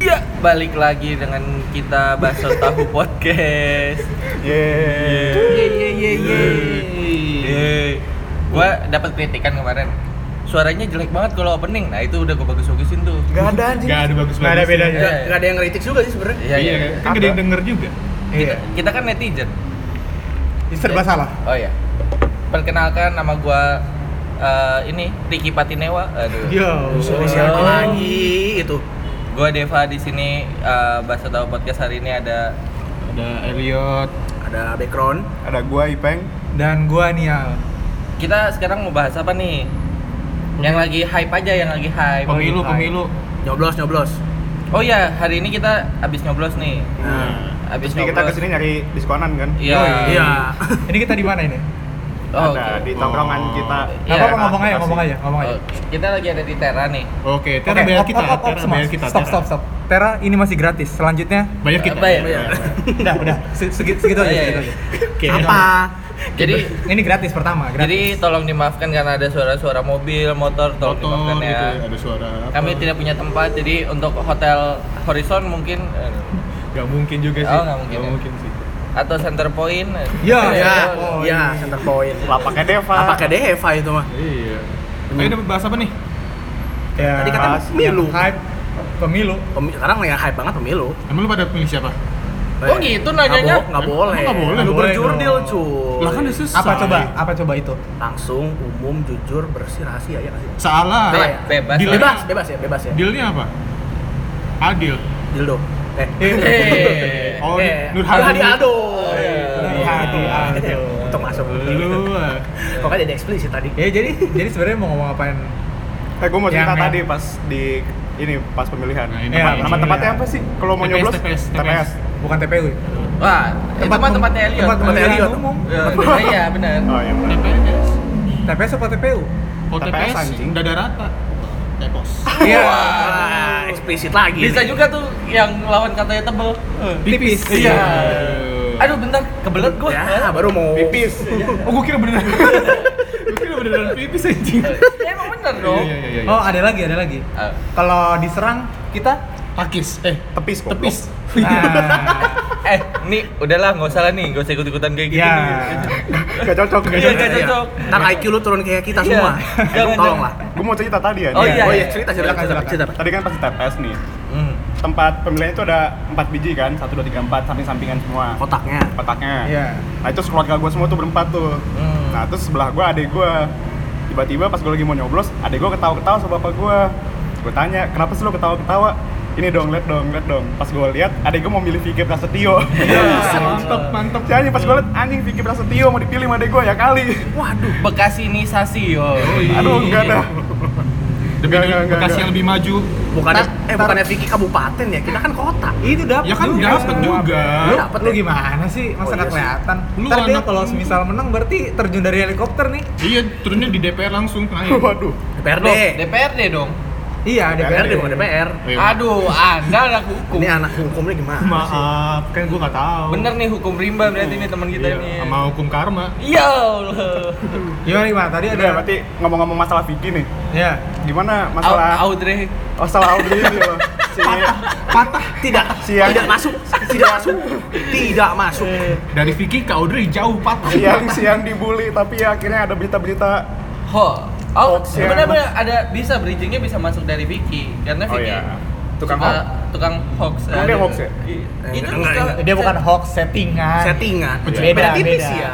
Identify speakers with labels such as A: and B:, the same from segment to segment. A: Iya, balik lagi dengan kita Baso Tahu Podcast.
B: Yeay.
C: Ye ye ye ye.
A: Yeay. Gua dapat kritikan kemarin. Suaranya jelek banget kalau opening. Nah, itu udah gua bagus-bagusin tuh.
B: Gak ada anjing.
C: Gak ada bagus-bagusnya.
B: Gak ada bedanya.
A: Iya.
C: Nggak- nggak ada yang ngeritik juga sih sebenarnya.
A: Iya, iya.
C: kan? Kan gede yang
B: Apa?
C: denger juga.
B: Iya.
A: Kita kan netizen.
B: Ini serba salah.
A: Oh iya. Perkenalkan nama gua eh, ini Ricky Patinewa. Aduh.
C: Inisialnya
A: Oh.
C: Iya. lagi itu.
A: Gua Deva di sini eh, Baso Tahu Podcast hari ini ada
D: ada Elliot
C: Ada background.
B: Ada gua Ipeng.
D: dan gua Nial
A: kita sekarang mau bahas apa nih? Yang lagi hype aja, yang lagi hype.
D: pemilu pemilu
C: Nyoblos nyoblos.
A: Oh iya, hari ini kita abis nyoblos nih.
D: Hmm.
C: Nah.
A: Abis
B: Ini kita
A: nyoblos.
B: kesini nyari diskonan kan?
A: Iya.
D: Oh, iya.
C: Iya.
D: ini kita di mana ini
A: Oh,
B: ada
A: oke.
B: di tongkrongan
D: Oh.
B: kita.
A: Iya.
D: Gak apa-apa ngomong aja
B: Makasih.
D: ngomong aja ngomong
E: ya?
D: aja
A: Oh, kita lagi ada di Tera nih.
D: oke
E: Oke,
D: bayar
E: op,
D: kita
E: op, op,
D: Tera
E: semua.
D: bayar kita
E: Stop,
D: Tera.
E: stop, stop. Tera ini masih gratis. Selanjutnya,
D: bayar kita
A: Apa ya?
E: udah, udah. Se- Segitu, segitu aja,
A: Iya,
E: segitu
A: iya.
E: aja.
D: Oke.
C: Apa?
A: Jadi
E: Ini gratis pertama, gratis.
A: jadi tolong dimaafkan karena ada suara-suara mobil, motor, tolong
D: motor
A: dimaafkan ya.
D: gitu ada suara apa.
A: Kami tidak punya tempat, jadi untuk hotel Horizon mungkin eh,
D: Gak mungkin juga sih
A: Oh, nggak mungkin ya.
D: sih
A: atau Center Point. eh,
E: Ya,
A: eh,
D: Iya.
C: Ya,
A: oh,
C: ya, center point.
B: Lapaknya Deva.
C: Apakah Deva itu mah?
D: iya
A: Hmm.
D: ayo dapat bahas apa nih
E: Ya,
C: Tadi kata
E: pas
C: pemilu.
E: yang hype, pemilu.
C: Pemi- sekarang yang hype banget pemilu.
D: emang lu pada pilih siapa
A: Oh, gitu nanyanya?
C: Enggak
D: Emang
C: boleh.
D: nggak boleh?
C: Nggak
E: Boleh
C: Berjurdil,
E: dong.
C: cuy.
D: lah kan udah selesai
E: Apa coba? Apa coba itu?
C: langsung, umum, jujur, bersih, rahasia ya kasih.
D: salah
B: Ah,
A: Be-
C: Salah ya?
A: eh, bebas.
D: Dilema.
A: Bebas.
C: Bebas, bebas ya, bebas ya.
D: dealnya apa adil
C: Dildo. Eh,
D: Iya,
A: Eh.
D: oh
C: eh,
D: Nur Hadi
C: Nur Aldo.
A: Iya.
E: Hati, hati.
C: Untuk masuk.
B: Eh,
D: lu ah.
C: Kok jadi eksplisit tadi?
E: Ya jadi, jadi sebenarnya mau ngomong apain?
B: Eh gua mau cerita
E: Yang-
B: tadi pas di ini pas pemilihan.
D: Nah, ini
B: Nama-
D: tempat-
B: Nama
E: ini
B: tempatnya
E: pemilihan.
B: apa sih? Kalau mau
D: TPS,
B: nyoblos
D: TPS.
E: Bukan TPU. ya?
A: Wah, itu mah
E: pem-
A: tempatnya Elliot.
E: Tempat
C: Tempatnya
E: pemilihan
C: Elliot.
E: umum.
A: Ya, Iya, benar.
B: Oh iya. benar.
D: TPS
E: TPS apa TPU?
D: oh
B: TPS,
D: TPS
B: anjing.
D: dada rata tepos
E: Iya.
C: Wah, Ah, eksplisit lagi.
A: Bisa
C: nih.
A: juga tuh yang lawan katanya tebel.
E: Tipis. Iya.
A: Iya.
D: Aduh.
A: Aduh bentar, kebelet gua.
C: Ya, baru mau
B: Pipis.
D: Oh, gua kira beneran. gua kira beneran pipis anjing.
A: Ya, emang bener dong.
D: Iya, iya, iya, iya.
E: Oh ada lagi, ada lagi.
B: iya.
A: Ah,
E: Kalau diserang kita,
D: Pakis. Eh,
B: Tepis kok.
D: tepis. Iya.
E: nah,
A: Eh, nih udahlah nggak usah lah nih, nggak usah ikut-ikutan kayak gitu.
E: ya.
B: Gak Iya. cocok.
A: Iya,
B: Gak
A: gak
B: cocok.
A: cocok.
C: Ntar IQ lu turun kayak kita
A: Iya.
C: semua.
A: Jangan,
C: Tolong
A: jangan.
C: lah.
B: Gua mau cerita tadi ya.
A: Oh,
B: Nih.
A: iya, iya.
C: cerita cerita
E: Silakan,
C: cerita.
E: silakan.
C: cerita.
B: Tadi kan pas di TPS nih.
A: Hmm.
B: Tempat pemilihan itu ada empat biji kan, satu dua tiga empat samping sampingan semua.
C: Kotaknya.
B: Kotaknya.
E: Iya.
B: Nah itu keluarga gue semua tuh berempat tuh.
A: Hmm.
B: Nah terus sebelah gue adek gue. Tiba-tiba pas gue lagi mau nyoblos, adek gue ketawa-ketawa sama bapak gue. Gue tanya, kenapa sih lo ketawa-ketawa? Ini dong, liat dong, liat dong. Pas gue liat, adek gue mau milih Vicky Prasetyo.
D: Iya. Mantap, mantap.
B: Si anjing pas gue liat, anjing Vicky Prasetyo mau dipilih sama adek gue ya kali.
C: Waduh.
A: Bekasinisasi yo.
B: Aduh, enggak ada.
D: Iya. Demi
B: Enggak, enggak, enggak,
D: Bekasi yang
B: enggak.
D: lebih maju.
C: Bukannya
E: Tar-
C: eh
E: tar-
C: bukannya Vicky kabupaten ya, kita kan kota.
E: Itu dapat
D: Ya kan dapat juga.
E: Lu,
C: Dapat
E: lu
C: ya?
E: gimana sih? Masa
C: Oh,
E: nggak
C: iya sih.
E: kelihatan?
D: Lu
E: Ntar dia
D: anak-
E: kalau semisal menang berarti terjun dari helikopter nih.
D: Iya, turunnya di DPR langsung naik.
B: Waduh.
C: DPRD.
A: Loh, DPRD dong.
E: Iya,
C: DPRD bukan DPR.
B: Oh, iya,
A: Aduh, Anda anak hukum.
C: Ini anak hukumnya gimana sih?
D: Maaf, kan gua enggak tahu.
A: Bener nih hukum rimba berarti ini teman kita
D: Iya,
A: nih.
D: sama hukum karma.
A: Ya Allah.
E: Gimana gimana? Tadi ada
B: Udah,
D: Iya,
B: berarti ngomong-ngomong masalah Vicky nih.
E: ya.
A: Au-
B: Gimana masalah
A: Audrey.
B: masalah Audrey ini loh? Si
C: Patah. Tidak.
B: Siang.
C: Tidak masuk. Tidak masuk. Tidak masuk.
D: Dari Vicky ke Audrey jauh patah.
B: siang siang dibully tapi ya akhirnya ada berita-berita
A: Ho. Oh,
B: Hoax ya.
A: bener-bener ada bisa bridgingnya bisa masuk dari Vicky karena
B: Oh,
A: Vicky
B: iya. Tukang
A: suka-
B: hoax.
A: tukang hoax.
B: Emang dia hoax
A: Iya.
B: ya?
C: Eh,
A: Itu
C: enggak,
A: tukang-
E: Dia bukan hoax kan? settingan.
C: Settingan.
B: Beda,
C: Beda tipis
E: Eh, beda.
C: ya.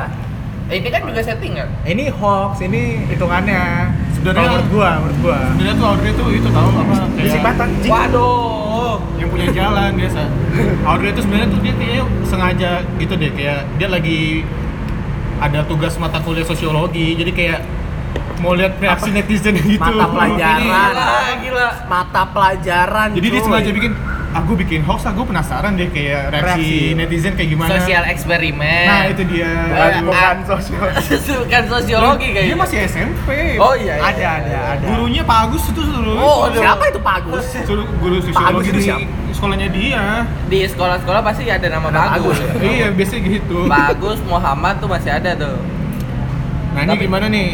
A: Eh, ini kan
E: Oh,
A: juga
E: iya.
A: settingan.
E: Ini hoax, ini hitungannya.
D: Sebenarnya- Iya.
E: Kalau menurut gua, menurut gua.
D: Sebenarnya tuh Audrey tuh itu tahu apa? kayak
B: kesempatan jing
A: Waduh.
D: yang punya jalan biasa. Audrey itu sebenarnya tuh dia kayaknya sengaja gitu deh kayak dia lagi ada tugas mata kuliah sosiologi jadi kayak mau lihat reaksi netizen gitu.
C: Mata pelajaran.
A: Gila, gila.
C: Mata pelajaran.
D: Jadi
E: Oh,
D: dia
C: cuy.
D: sengaja bikin aku bikin hoax, aku penasaran deh kayak reaksi,
E: iya. Reaksi.
D: netizen kayak gimana.
A: Sosial eksperimen.
D: Nah, itu dia.
B: bukan,
A: Ah.
B: bukan sosial
A: bukan sosiologi kayaknya.
D: Dia masih SMP.
A: Oh iya. iya,
E: Ada,
A: iya,
E: ada,
A: iya.
E: ada.
D: Gurunya Pak Agus itu suruh.
A: Oh, aduh.
C: Siapa itu Pak Agus?
D: Suruh guru
C: Agus
D: sosiologi
C: itu
D: di
C: siapa?
D: sekolahnya dia.
A: Di sekolah-sekolah pasti ada nama bagus.
D: iya, biasanya gitu.
A: Bagus Muhammad tuh masih ada tuh.
D: Nah, ini
A: Tapi-
D: gimana nih?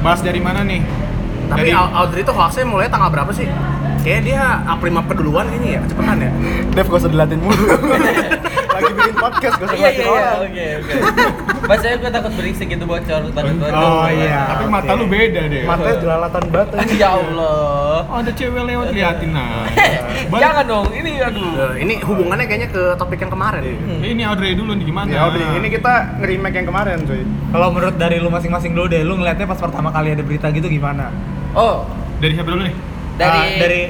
D: Bahas dari mana nih?
C: Tapi
D: Dari-
C: Al- Audrey tuh hoaxnya mulai tanggal berapa sih? Kayaknya dia April Mapet duluan kayaknya ya, kecepatan ya.
B: Dev gak usah dilatih mulu Lagi bikin podcast gak usah
A: Iya
B: dilatih
A: iya iya.
B: orang
A: Oke oke. Mas saya gue takut berisik gitu bocor takut bocor.
E: Oh, iya.
D: Tapi
E: oke.
D: mata lu beda deh.
B: Matanya jelalatan banget anjing.
A: Ya Allah.
D: Oh, ada cewek lewat liatin nah.
A: Jangan dong, ini aduh.
C: Eh, ini hubungannya kayaknya ke topik yang kemarin.
D: Ini Audrey dulu nih gimana?
B: Ya Audrey, ini kita nge-remake yang kemarin cuy
E: Kalau menurut dari lu masing-masing dulu deh, lu ngeliatnya pas pertama kali ada berita gitu gimana?
A: Oh,
D: dari siapa dulu nih?
A: dari
E: Ah, dari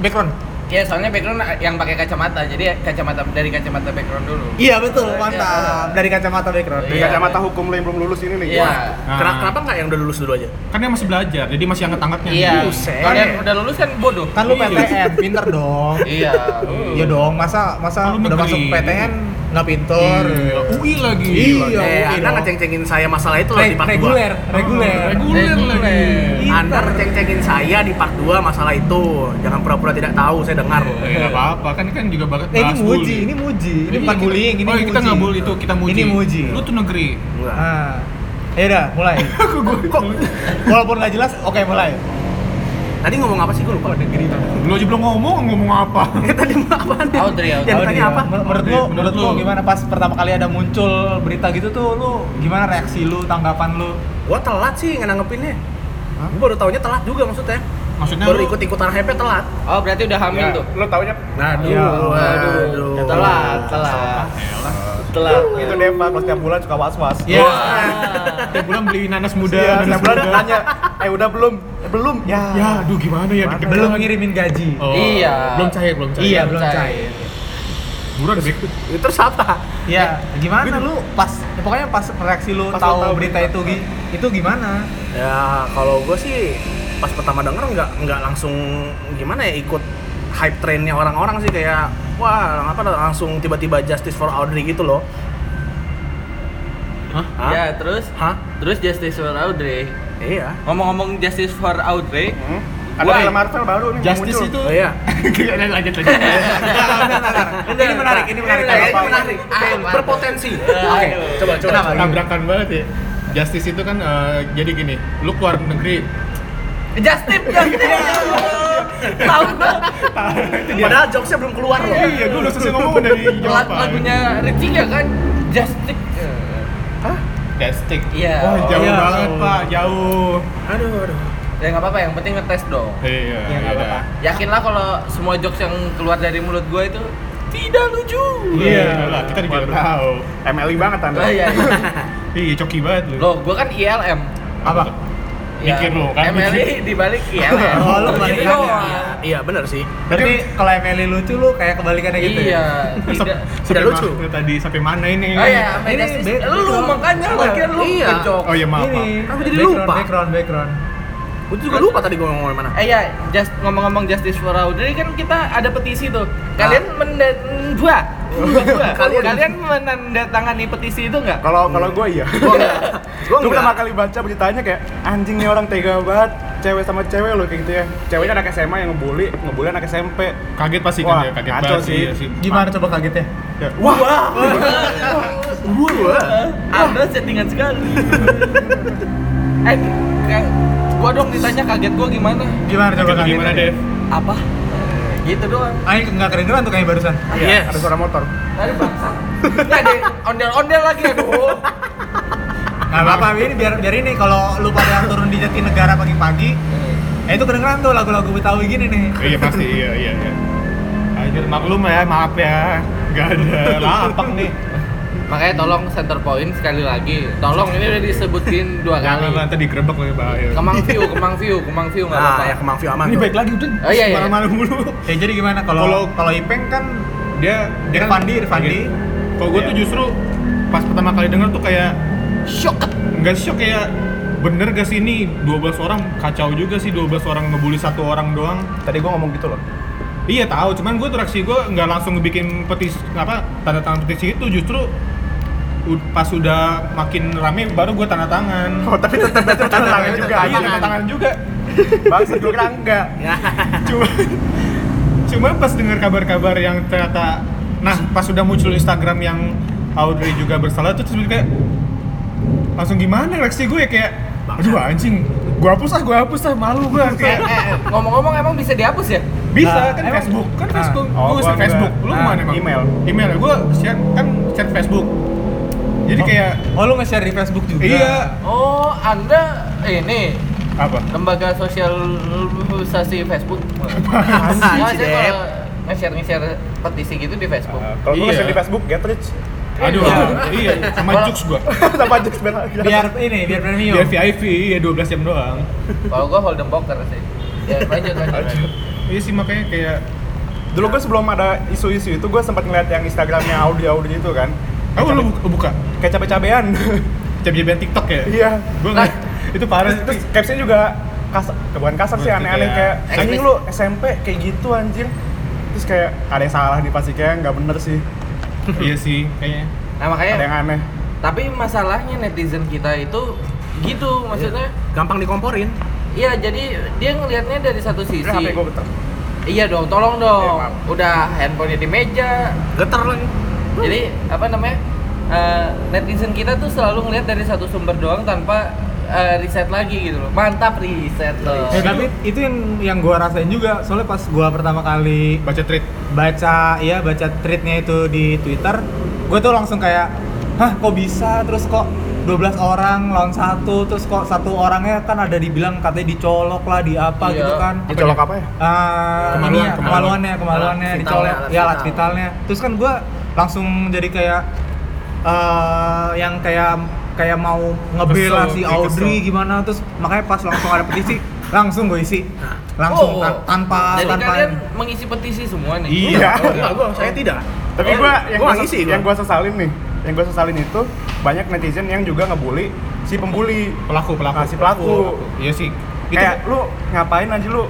E: background.
A: ya soalnya background yang pakai kacamata. Jadi ya kacamata dari kacamata background dulu.
E: Iya betul,
A: Iya.
E: mantap. Dari kacamata background.
B: Dari
A: Iya.
B: kacamata hukum lo yang belum lulus ini nih
A: Iya.
D: Nah.
C: Kena- Kenapa nggak yang udah lulus dulu aja?
D: Kan dia masih belajar, jadi masih angkat-angkatnya.
A: Iya.
C: Buset.
A: Kalau yang udah lulus kan bodoh.
E: Kan lu
D: Iya.
E: PTN, pinter dong.
A: Iya.
E: Iya dong, masa masa
D: Kan lu
E: udah
D: negeri.
E: masuk PTN nggak pinter.
D: Iya, UI lagi.
E: Iya.
C: eh,
E: iya
C: Anda
E: dong.
C: ngeceng-cengin saya masalah itu loh
E: Re-
C: di part
E: reguler, reguler.
B: Oh,
D: Reguler lagi.
E: Iya.
C: 2. Anda ngeceng-cengin saya di part 2 masalah itu. Jangan pura-pura tidak tahu, saya dengar loh.
B: Iya.
D: Eh, nggak apa-apa kan kan juga banget.
E: Eh, ini muji, ini muji, ini bukan bullying, ini
D: Oh,
E: muji.
D: kita nggak bully itu, kita muji.
E: Ini muji.
D: Lu tuh negeri.
C: Enggak.
E: Ah. Ya udah, mulai. Walaupun nggak jelas, oke mulai.
C: Tadi ngomong apa sih? Gue lupa.
D: Lu aja belum ngomong, ngomong apa?
C: Eh, tadi mau apaan ya?
A: Audrey, Audrey.
C: Yang
E: Audrey,
C: tanya apa?
E: Menurut menurut lu, menurut lu
D: Audrey, menurut lu.
E: gimana pas pertama kali ada muncul berita gitu tuh lu gimana reaksi lu, tanggapan lu?
C: Gua telat sih nganggepinnya.
B: Hah?
C: Gua baru taunya telat juga maksudnya.
D: Maksudnya
C: baru
D: lu-
C: ikut-ikutan hype telat.
A: Oh, berarti udah hamil
B: Ya,
A: tuh.
B: Lo taunya
C: Aduh,
E: Iya.
C: aduh.
A: Ya, telat, telat. Telat. Ah.
B: itu Deva kalau setiap bulan suka was-was
E: Iya.
D: Tiap bulan beli nanas muda,
B: Iya,
D: nanas
B: setiap bulan
D: muda.
B: tanya, eh udah belum? Eh, belum, ya
D: Ya, aduh gimana ya? deg-degan.
E: Belum ngirimin gaji.
D: Oh,
A: Iya.
D: Belum cair, belum cair.
E: iya, belum
A: cair.
E: cair.
D: Buruan ada backpack.
C: Itu terus apa?
E: Iya, gimana lu pas ya pokoknya pas reaksi lu
B: Pas lu
E: tahu
B: tahu
E: berita kan. itu gi- itu gimana?
C: Ya kalau gue sih pas pertama denger nggak nggak langsung gimana ya ikut hype trainnya orang-orang sih kayak wah apa langsung tiba-tiba justice for Audrey gitu loh.
D: Hah?
C: Hah?
A: Ya, terus
C: Hah?
A: terus Justice for Audrey.
C: Iya.
A: Ngomong-ngomong Justice for Audrey,
B: Hmm? Ada
A: Why?
B: film Marvel baru nih
D: Justice itu.
C: Oh iya.
D: Lanjut, lanjut, lanjut.
A: Iya.
E: ini menarik, ini menarik.
C: Iya, Ini menarik.
E: Apa?
C: menarik.
A: Ah,
C: Berpotensi.
A: Aduh.
C: Oke, coba coba.
E: Kenapa?
D: Tabrakan banget ya. Justice itu kan eh, jadi gini, lu keluar negeri,
A: Justin, Justin. Tahu dong.
C: Padahal jokesnya belum keluar loh.
D: Iya, gue udah selesai ngomong dari
A: Lag- lagunya Ricky ya kan? Justin.
D: Destik.
A: Iya.
D: Wah, jauh
E: iya.
D: banget, Pak. Jauh.
C: Aduh, aduh.
A: Ya nggak apa-apa, yang penting ngetes dong.
D: Iya,
E: Iya, nggak
D: iya.
E: apa-apa.
A: Yakinlah kalau semua jokes yang keluar dari mulut gue itu tidak lucu.
D: Iya, lah, kita juga
B: Waduh.
D: tahu.
B: MLI banget anda
A: Oh, iya, iya.
D: Iya, coki banget lu.
A: Loh, gue kan ILM.
E: Apa?
A: Iya.
D: Mikir lu, kan?
A: MLI dibalik ILM.
E: Oh, lu
A: Gitu
E: balikannya.
A: doang.
C: Iya benar sih.
E: Berarti kalau Emily lucu lu kayak kebalikannya gitu. ya?
A: Iya,
D: Sampai-
A: tidak.
D: sampai
C: lucu.
D: mana Tadi sampai mana ini?
A: Oh iya, sampai
E: Ini
A: Justice.
E: beda-
A: Lu
E: beda.
A: makanya lagian lu
C: Iya.
A: kejok.
D: Oh iya, maaf.
E: Ini.
D: maaf.
C: Aku jadi
E: background,
C: lupa.
E: Background, background.
C: Gue juga lupa tadi gue ngomong mana.
A: Eh ya, just ngomong-ngomong Justice for Audrey kan kita ada petisi tuh. Kalian menda- dua, dua.
C: Kalian.
A: Kalian. menandatangani petisi itu nggak?
B: kalau kalau gue iya
C: Gue nggak. Gue
B: gue
C: nggak.
B: pertama kali baca beritanya kayak anjing nih orang tega banget cewek sama cewek loh kayak gitu ya ceweknya anak SMA yang ngebully ngebully anak SMP
D: Kaget pasti
B: Wah,
D: kan dia, kaget
B: ngaco
D: banget.
B: sih.
D: Iya
E: Gimana coba kagetnya?
B: ya, wah
A: Ada settingan sekali. eh, kayak- gua dong ditanya kaget gua gimana?
E: Gimana coba
D: Kaget
E: kagetnya?
D: gimana, Dev?
A: Apa? Gitu doang.
E: Aing nggak kedengeran tuh kayak barusan.
A: Iya.
C: Yes.
B: Iya, ada suara motor
A: Tadi bangsa. Nggak deh, ondel-ondel lagi aduh.
E: Nggak apa-apa, ini biar biar ini kalau lu pada turun di Jatinegara pagi-pagi, eh itu kedengeran tuh lagu-lagu Betawi gini nih.
D: Iya, pasti. Iya, iya, iya. Anjir, maklum ya, maaf ya. Gak ada lapak nih.
A: Makanya tolong center point sekali lagi. Tolong ini udah disebutin dua kali.
D: Jangan nanti digerebek lagi bahaya.
A: Kemang view, kemang view, kemang view nggak
C: Nah,
A: apa-apa.
C: ya kemang view aman.
D: Ini
C: tuh.
D: baik lagi udah
A: Oh, iya, iya.
D: marah-marah mulu.
E: Ya jadi gimana kalau
D: Kalau-
E: kalau Ipeng kan
D: Dia dia kan-
E: Irfandi, Irfandi.
D: Kalau gue tuh
B: Iya.
D: justru pas pertama kali denger tuh kayak
A: Shock.
D: nggak shock kayak bener gak sih ini 12 orang kacau juga sih 12 orang ngebully satu orang doang
B: tadi gue ngomong gitu loh
D: iya tahu cuman gue tuh reaksi gue nggak langsung bikin petisi apa tanda tangan petisi itu justru u- pas udah makin rame baru gue tanda tangan
B: oh tapi tetep aja tanda tangan juga
D: iya tanda tangan juga
B: bangsa gue kira enggak
D: cuma cuma pas dengar kabar-kabar yang ternyata nah pas sudah muncul Instagram yang Audrey juga bersalah tuh terus kayak langsung gimana reaksi gue ya kayak aduh anjing
B: Gua hapus ah, gua hapus ah, malu gua.
A: Eh, eh, ngomong-ngomong emang bisa dihapus ya?
E: Nah,
D: Bisa kan
E: emang-
D: Facebook, kan
E: Nah.
D: Facebook.
B: Oh,
D: Lu
B: gua
D: share
B: enggak.
D: Facebook. Lu
B: Ah,
D: kemana emang?
B: email.
D: Email. Gua share kan share Facebook. Jadi kayak
E: Oh lu nge-share di Facebook juga?
D: iya,
A: Oh, Anda ini
B: Apa?
A: lembaga sosialisasi Facebook.
C: Apaan sih,
A: Nah, saya
C: si Dep?
A: kalau nge-share nge-share petisi gitu di Facebook.
B: Ah, Kalau gua
D: Iya.
B: share di Facebook get rich.
D: aduh,
A: Iya.
D: iya, sama
A: Kalau-
D: Jux gua.
B: Sama aja sebenarnya.
D: Iya.
E: Biar ini, biar premium
D: Biar VIP, iya 12 jam doang.
A: Kalau gua Holden Poker sih. Ya lanjut lanjut. lanjut.
D: Iya sih makanya kayak
B: Dulu gua sebelum ada isu-isu itu gua sempat ngeliat yang Instagramnya Audi Audi itu kan.
D: Oh, lu buka, buka.
B: Kayak cabe-cabean.
D: Jam-jam TikTok ya?
B: Iya.
D: Gua nggak- itu parah.
B: Terus, terus caption juga kasar, bukan kasar sih
D: Berarti
B: aneh-aneh
D: kayak-
B: kayak anjing
A: Ekstremis.
B: lu SMP kayak gitu anjir. Terus kayak ada yang salah nih pasti kayak nggak bener sih.
D: iya sih, kayaknya.
A: Nah, makanya
B: Ada yang aneh.
A: tapi masalahnya netizen kita itu gitu
B: Iya.
A: maksudnya.
C: Gampang dikomporin.
A: Iya, jadi dia ngelihatnya dari satu sisi.
B: Udah HP gua betul.
A: Iya dong, tolong dong.
B: Iya, maaf.
A: Udah handphonenya di meja.
C: Geter lagi.
A: Jadi apa namanya? eh, netizen kita tuh selalu ngelihat dari satu sumber doang tanpa eh, riset lagi gitu loh. Mantap riset
B: Iya.
A: loh.
E: Eh, tapi itu yang yang gua rasain juga soalnya pas gua pertama kali
D: Baca tweet.
E: baca ya baca tweetnya itu di Twitter gue tuh langsung kayak hah kok bisa terus kok 12 orang lawan satu terus kok satu orangnya kan ada dibilang katanya dicolok lah di apa
A: Iya.
E: gitu kan
B: Dicolok apa ya?
E: Ah,
D: Kemaluan,
E: ini ya,
D: kemaluan.
E: kemaluannya kemaluannya
A: Alat
E: dicolok
A: vitalnya, alat
E: ya alat
A: vital.
E: vitalnya terus kan gue langsung jadi kayak eh yang kayak kayak mau ngebela
D: Kesel,
E: si
D: kayak
E: Audrey
D: kesel.
E: gimana terus makanya pas langsung ada petisi langsung gue isi langsung
A: Oh.
E: tan- tanpa
A: Jadi
E: tanpa
A: kalian mengisi petisi semua nih.
B: Iya.
A: Enggak,
C: Oh, gua, saya tidak.
B: Tapi gua yang
C: Eh, gua
B: gua,
C: nggak ngisi, gua.
B: yang gua sesalin nih, yang gua sesalin itu banyak netizen yang juga ngebully si pembuli.
D: Pelaku, pelaku.
B: Ah, si pelaku.
D: Iya sih. Itu
B: Kayak lu ngapain anjir lu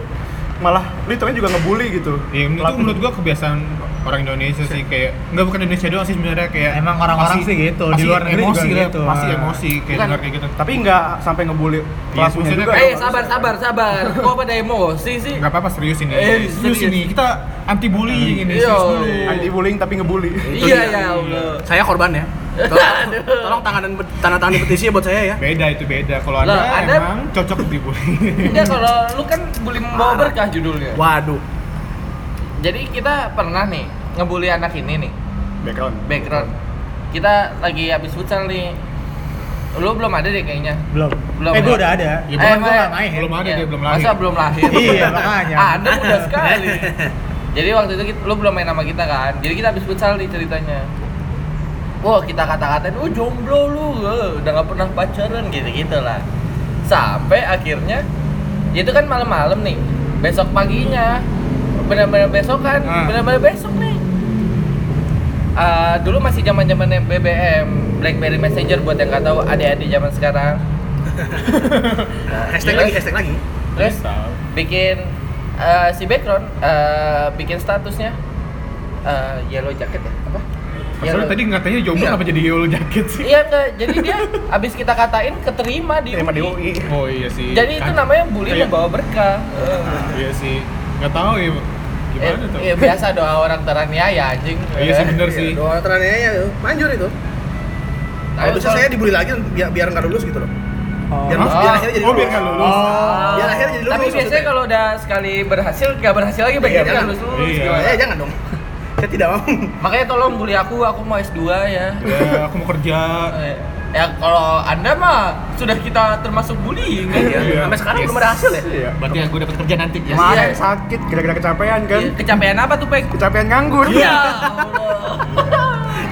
B: malah lu itu juga ngebully gitu.
D: Ya, itu
B: Pelaku.
D: menurut gua kebiasaan orang Indonesia sih kayak nggak bukan Indonesia doang sih sebenarnya kayak
E: Emang orang-orang
D: pasti-
E: sih gitu, di
D: pasti
E: luar negeri
D: emosi
E: juga
D: lah,
E: gitu.
D: pasti
E: Ah.
D: emosi kayak
A: Bukan.
D: dengar kayak gitu
B: tapi nggak sampai ngebully pelakunya
D: Iya, maksudnya
B: juga.
D: kayak-
A: Eh, sabar sabar sabar. Kok pada emosi sih?
D: nggak apa-apa serius ini
A: Eh,
D: serius,
A: serius.
D: ini kita anti bullying ini
A: Iya.
D: serius dulu
B: anti bullying tapi ngebully.
A: Iya ya Allah.
C: Saya korban ya. Tolong, tolong tangan dan tanda tangan di petisi buat saya ya.
D: beda itu beda kalau
A: Lah,
D: anda,
A: Anda-
D: emang cocok di bullying
A: Enggak kalau lu kan bully membawa berkah judulnya.
C: Waduh.
A: Jadi kita pernah nih ngebully anak ini nih
B: Background.
A: background. Kita lagi habis futsal nih. Lu belum ada deh kayaknya.
E: belum
A: Belum
E: eh gue
A: ya?
E: udah ada
D: Ya, bukan
A: Eh, Maya,
E: gua nggak main.
D: belum ada dia belum lahir
A: Masa belum lahir?
E: Iya, makanya.
A: Ah, Anda muda sekali. Jadi waktu itu kita, lu belum main sama kita kan. Jadi kita habis futsal nih ceritanya. Wah, kita kata-katain, "Oh, jomblo lu, eh, udah gak pernah pacaran gitu-gitu lah." Sampai akhirnya itu kan malam-malam nih. Besok paginya. Benar-benar besok kan,
E: Ah.
A: benar-benar besok nih. Eh, dulu masih zaman-zaman BBM, BlackBerry Messenger buat yang gak tahu adik-adik zaman sekarang. Nah,
C: Eh, Hashtag
A: terus-
C: lagi, hashtag lagi.
A: terus bikin eh, si background eh, bikin statusnya eh, yellow jacket ya apa
D: Masalah tadi ngatanya jomblo
A: Iya.
D: apa jadi yellow jacket sih
A: iya enggak jadi dia abis kita katain keterima di
B: Tema di
A: UI.
B: UI.
D: oh iya sih
A: jadi itu
D: Kan-
A: namanya bully
D: Iya.
A: membawa berkah Eh,
D: iya sih nggak tahu ya gimana
A: eh,
D: tuh
A: iya, biasa doa orang teraniaya anjing Nah,
D: iya sih bener sih
C: Doa terananya ya, manjur itu.
A: Tapi
C: Kalau bisa
A: kalau-
C: saya dibully lagi biar biar nggak lulus gitu loh.
E: Oh.
C: Biar,
D: Hah?
C: biar Oh. akhirnya jadi
D: Oh, biar nggak lulus.
A: Ah.
C: Biar akhirnya jadi lulus
A: tapi biasanya
C: maksudnya.
A: kalau udah sekali berhasil gak berhasil lagi
C: Iya,
A: bagian
C: jangan.
A: lulus lulus
D: Iya.
A: gimana?
C: Eh, jangan dong. Saya tidak mau.
A: makanya tolong bully aku aku mau S2 ya
D: ya aku mau kerja
A: Eh, ya kalau anda mah sudah kita termasuk bullying kan ya?
D: Iya.
C: Sampai sekarang
D: Yes.
C: belum ada hasil ya.
B: Iya.
D: berarti aku dapat kerja nanti
A: Ya,
B: Kemarin
A: iya.
B: sakit gara-gara kecapean kan. Iya.
A: Iya, Kecapean apa tuh, Pek?
B: Kecapean nganggur.
A: Ya
D: Iya.
A: Allah.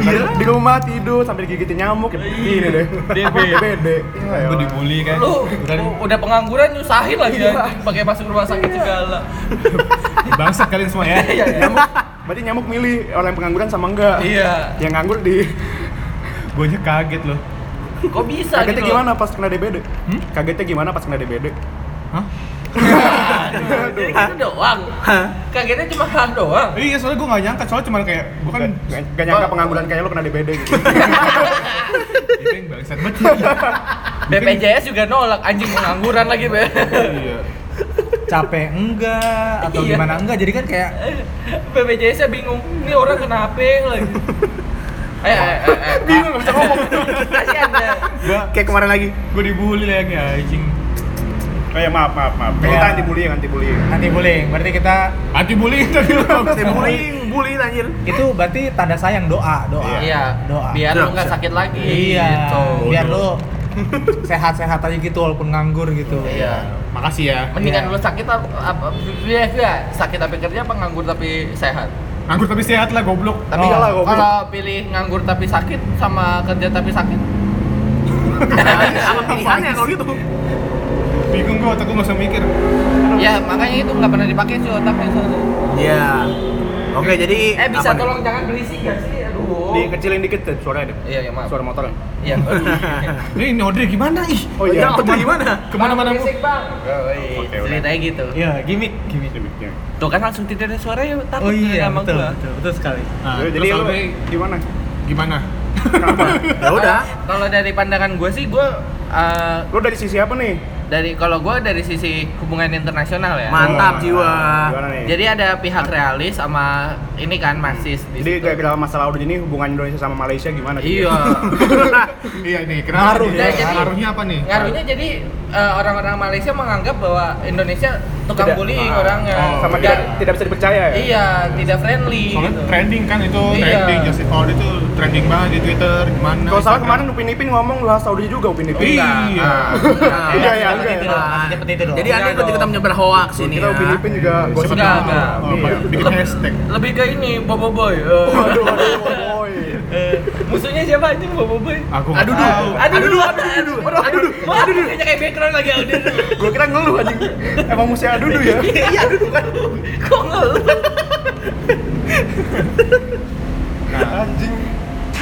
B: Di rumah tidur sambil digigitin nyamuk ini deh. Iya,
D: DB.
B: DBD.
D: Aku
E: Iya.
D: dibully kan
A: Lu
D: Berani-
A: u- udah pengangguran nyusahin lagi ya pakai masuk rumah sakit segala.
D: bangsat kalian semua ya
A: Iya. iya.
B: Nyamuk. Berarti nyamuk milih orang yang pengangguran sama enggak.
A: Iya.
B: Yang nganggur di
D: gue aja kaget loh
A: Kok bisa
B: kagetnya
A: gitu?
B: gimana pas kena DBD? Kagetnya gimana pas kena DBD?
D: Hah?
A: Jadi gitu doang. Kagetnya cuma hal doang.
D: Eh, Iya, soalnya gue gak nyangka, soalnya cuma kayak gue kan
B: Kan gak nyangka pengangguran kayak lu kena DBD gitu.
D: itu yang Iya kan, bangsat banget.
A: BPJS juga nolak anjing pengangguran lagi, Be.
D: Iya.
E: capek enggak atau
A: Iya.
E: gimana enggak jadi kan kayak
A: BPJS-nya bingung, ini orang kenapa lagi? Eh, eh, eh, eh.
B: Bingung gak bisa ngomong.
A: Kasihan ya.
D: Gua
C: Kayak kemarin lagi.
D: gue dibully lagi anjing.
B: Oh ya maaf maaf maaf.
E: Iya.
B: Kita anti bullying anti bullying.
E: Nanti bullying, berarti kita
D: Anti bullying tadi lu.
C: Pasti bullying, bullying anjir.
E: itu berarti tanda sayang doa, doa.
A: Iya,
E: Doa.
A: biar lu
C: Doa.
A: nggak sakit lagi.
E: Iya.
A: gitu.
E: Biar lu sehat-sehat aja gitu walaupun nganggur gitu.
A: Iya.
D: Makasih ya.
A: Mendingan
E: Iya.
A: lu sakit apa, apa ya, ya, sakit tapi kerja apa nganggur tapi sehat.
D: Anggur tapi sehat lah goblok.
A: Tapi
E: Oh,
A: kalau
B: goblok.
A: kalau pilih nganggur tapi sakit sama kerja tapi sakit,
C: Apa pilihannya kalau gitu?
D: Bingung gua, otak gua nggak usah mikir.
A: ya makanya itu nggak pernah dipakai sih otaknya.
C: Iya. Oke, jadi
A: Eh bisa
C: apa nih?
A: tolong jangan berisik gak sih?
B: Oh.
A: Aduh.
B: Dikecilin dikit deh suaranya deh.
A: Iya, ya maaf.
B: Suara motornya.
A: Iya. aduh.
D: Eh, Ini ini Audrey gimana ih?
B: Oh iya.
C: Yang peduli gimana?
D: Kemana-mana mu.
A: Berisik, Bang. Oh, iya.
B: Oke, udah.
A: Ceritanya gitu.
E: Iya, gimmick, gimmick.
B: Demikian.
A: Tuh kan langsung tidak ada suara ya takut
E: Oh iya,
A: sama
E: betul,
A: gua.
E: betul, betul sekali.
D: Nah,
B: Yo, Jadi
D: terus
B: lu
D: Audrey
B: gimana?
D: gimana?
B: Kenapa?
C: Ya udah.
A: Kalau dari pandangan gue sih gue eh,
B: Lu dari sisi apa nih?
A: dari kalau gue dari sisi hubungan internasional ya.
C: Man- Mantap,
B: Oh,
C: jiwa.
B: Gimana nih?
A: Jadi ada pihak realis sama ini kan marxis di
B: Jadi
A: situ.
B: kayak dalam masalah udah ini hubungan Indonesia sama Malaysia gimana?
A: Iya.
D: Iya nih, kenapa?
E: Ngaruh
D: nih?
A: deh, jadi- Iya.
D: Ngaruhnya apa nih?
A: Ngaruhnya jadi eh, orang-orang Malaysia menganggap bahwa Indonesia tukang
B: Tidak.
A: bullying
B: Ah.
A: orangnya.
D: Oh,
B: Sama
A: Dan-
B: tidak tidak bisa dipercaya ya?
A: Iya, tidak friendly. gitu.
D: Soalnya trending kan itu,
A: Iya.
D: trending Justin Audrey itu trending banget di Twitter, gimana?
B: Kalau salah
D: Instagram.
B: kemarin Upin Ipin ngomong lah Saudi juga Upin Ipin.
D: Iya.
A: Iya.
B: Iya, iya,
A: seperti
B: iya.
A: itu dong,
C: Nah,
A: seperti itu dong.
C: Jadi
A: Iya
C: anda ikut
A: dong.
C: ikutan menyebar hoax ini
A: Iya.
B: Kita
C: ya.
B: Upin Ipin juga
D: Iya.
B: gosip.
A: Enggak, enggak.
D: Oh,
B: Iya.
D: bikin hashtag.
A: Lebih ke ini, Bobo Boy. Eh,
B: Waduh, waduh, boy.
A: eh, musuhnya siapa aja Bobo Boy?
D: Aku
A: aduh
D: nggak tahu.
A: aduh aduh aduh aduh aduh aduh kayaknya kayak background lagi aduh aduh
B: Gua kira ngeluh anjing. Emang musuh adudu ya?
A: iya aduh kan kok ngeluh
B: Anjing.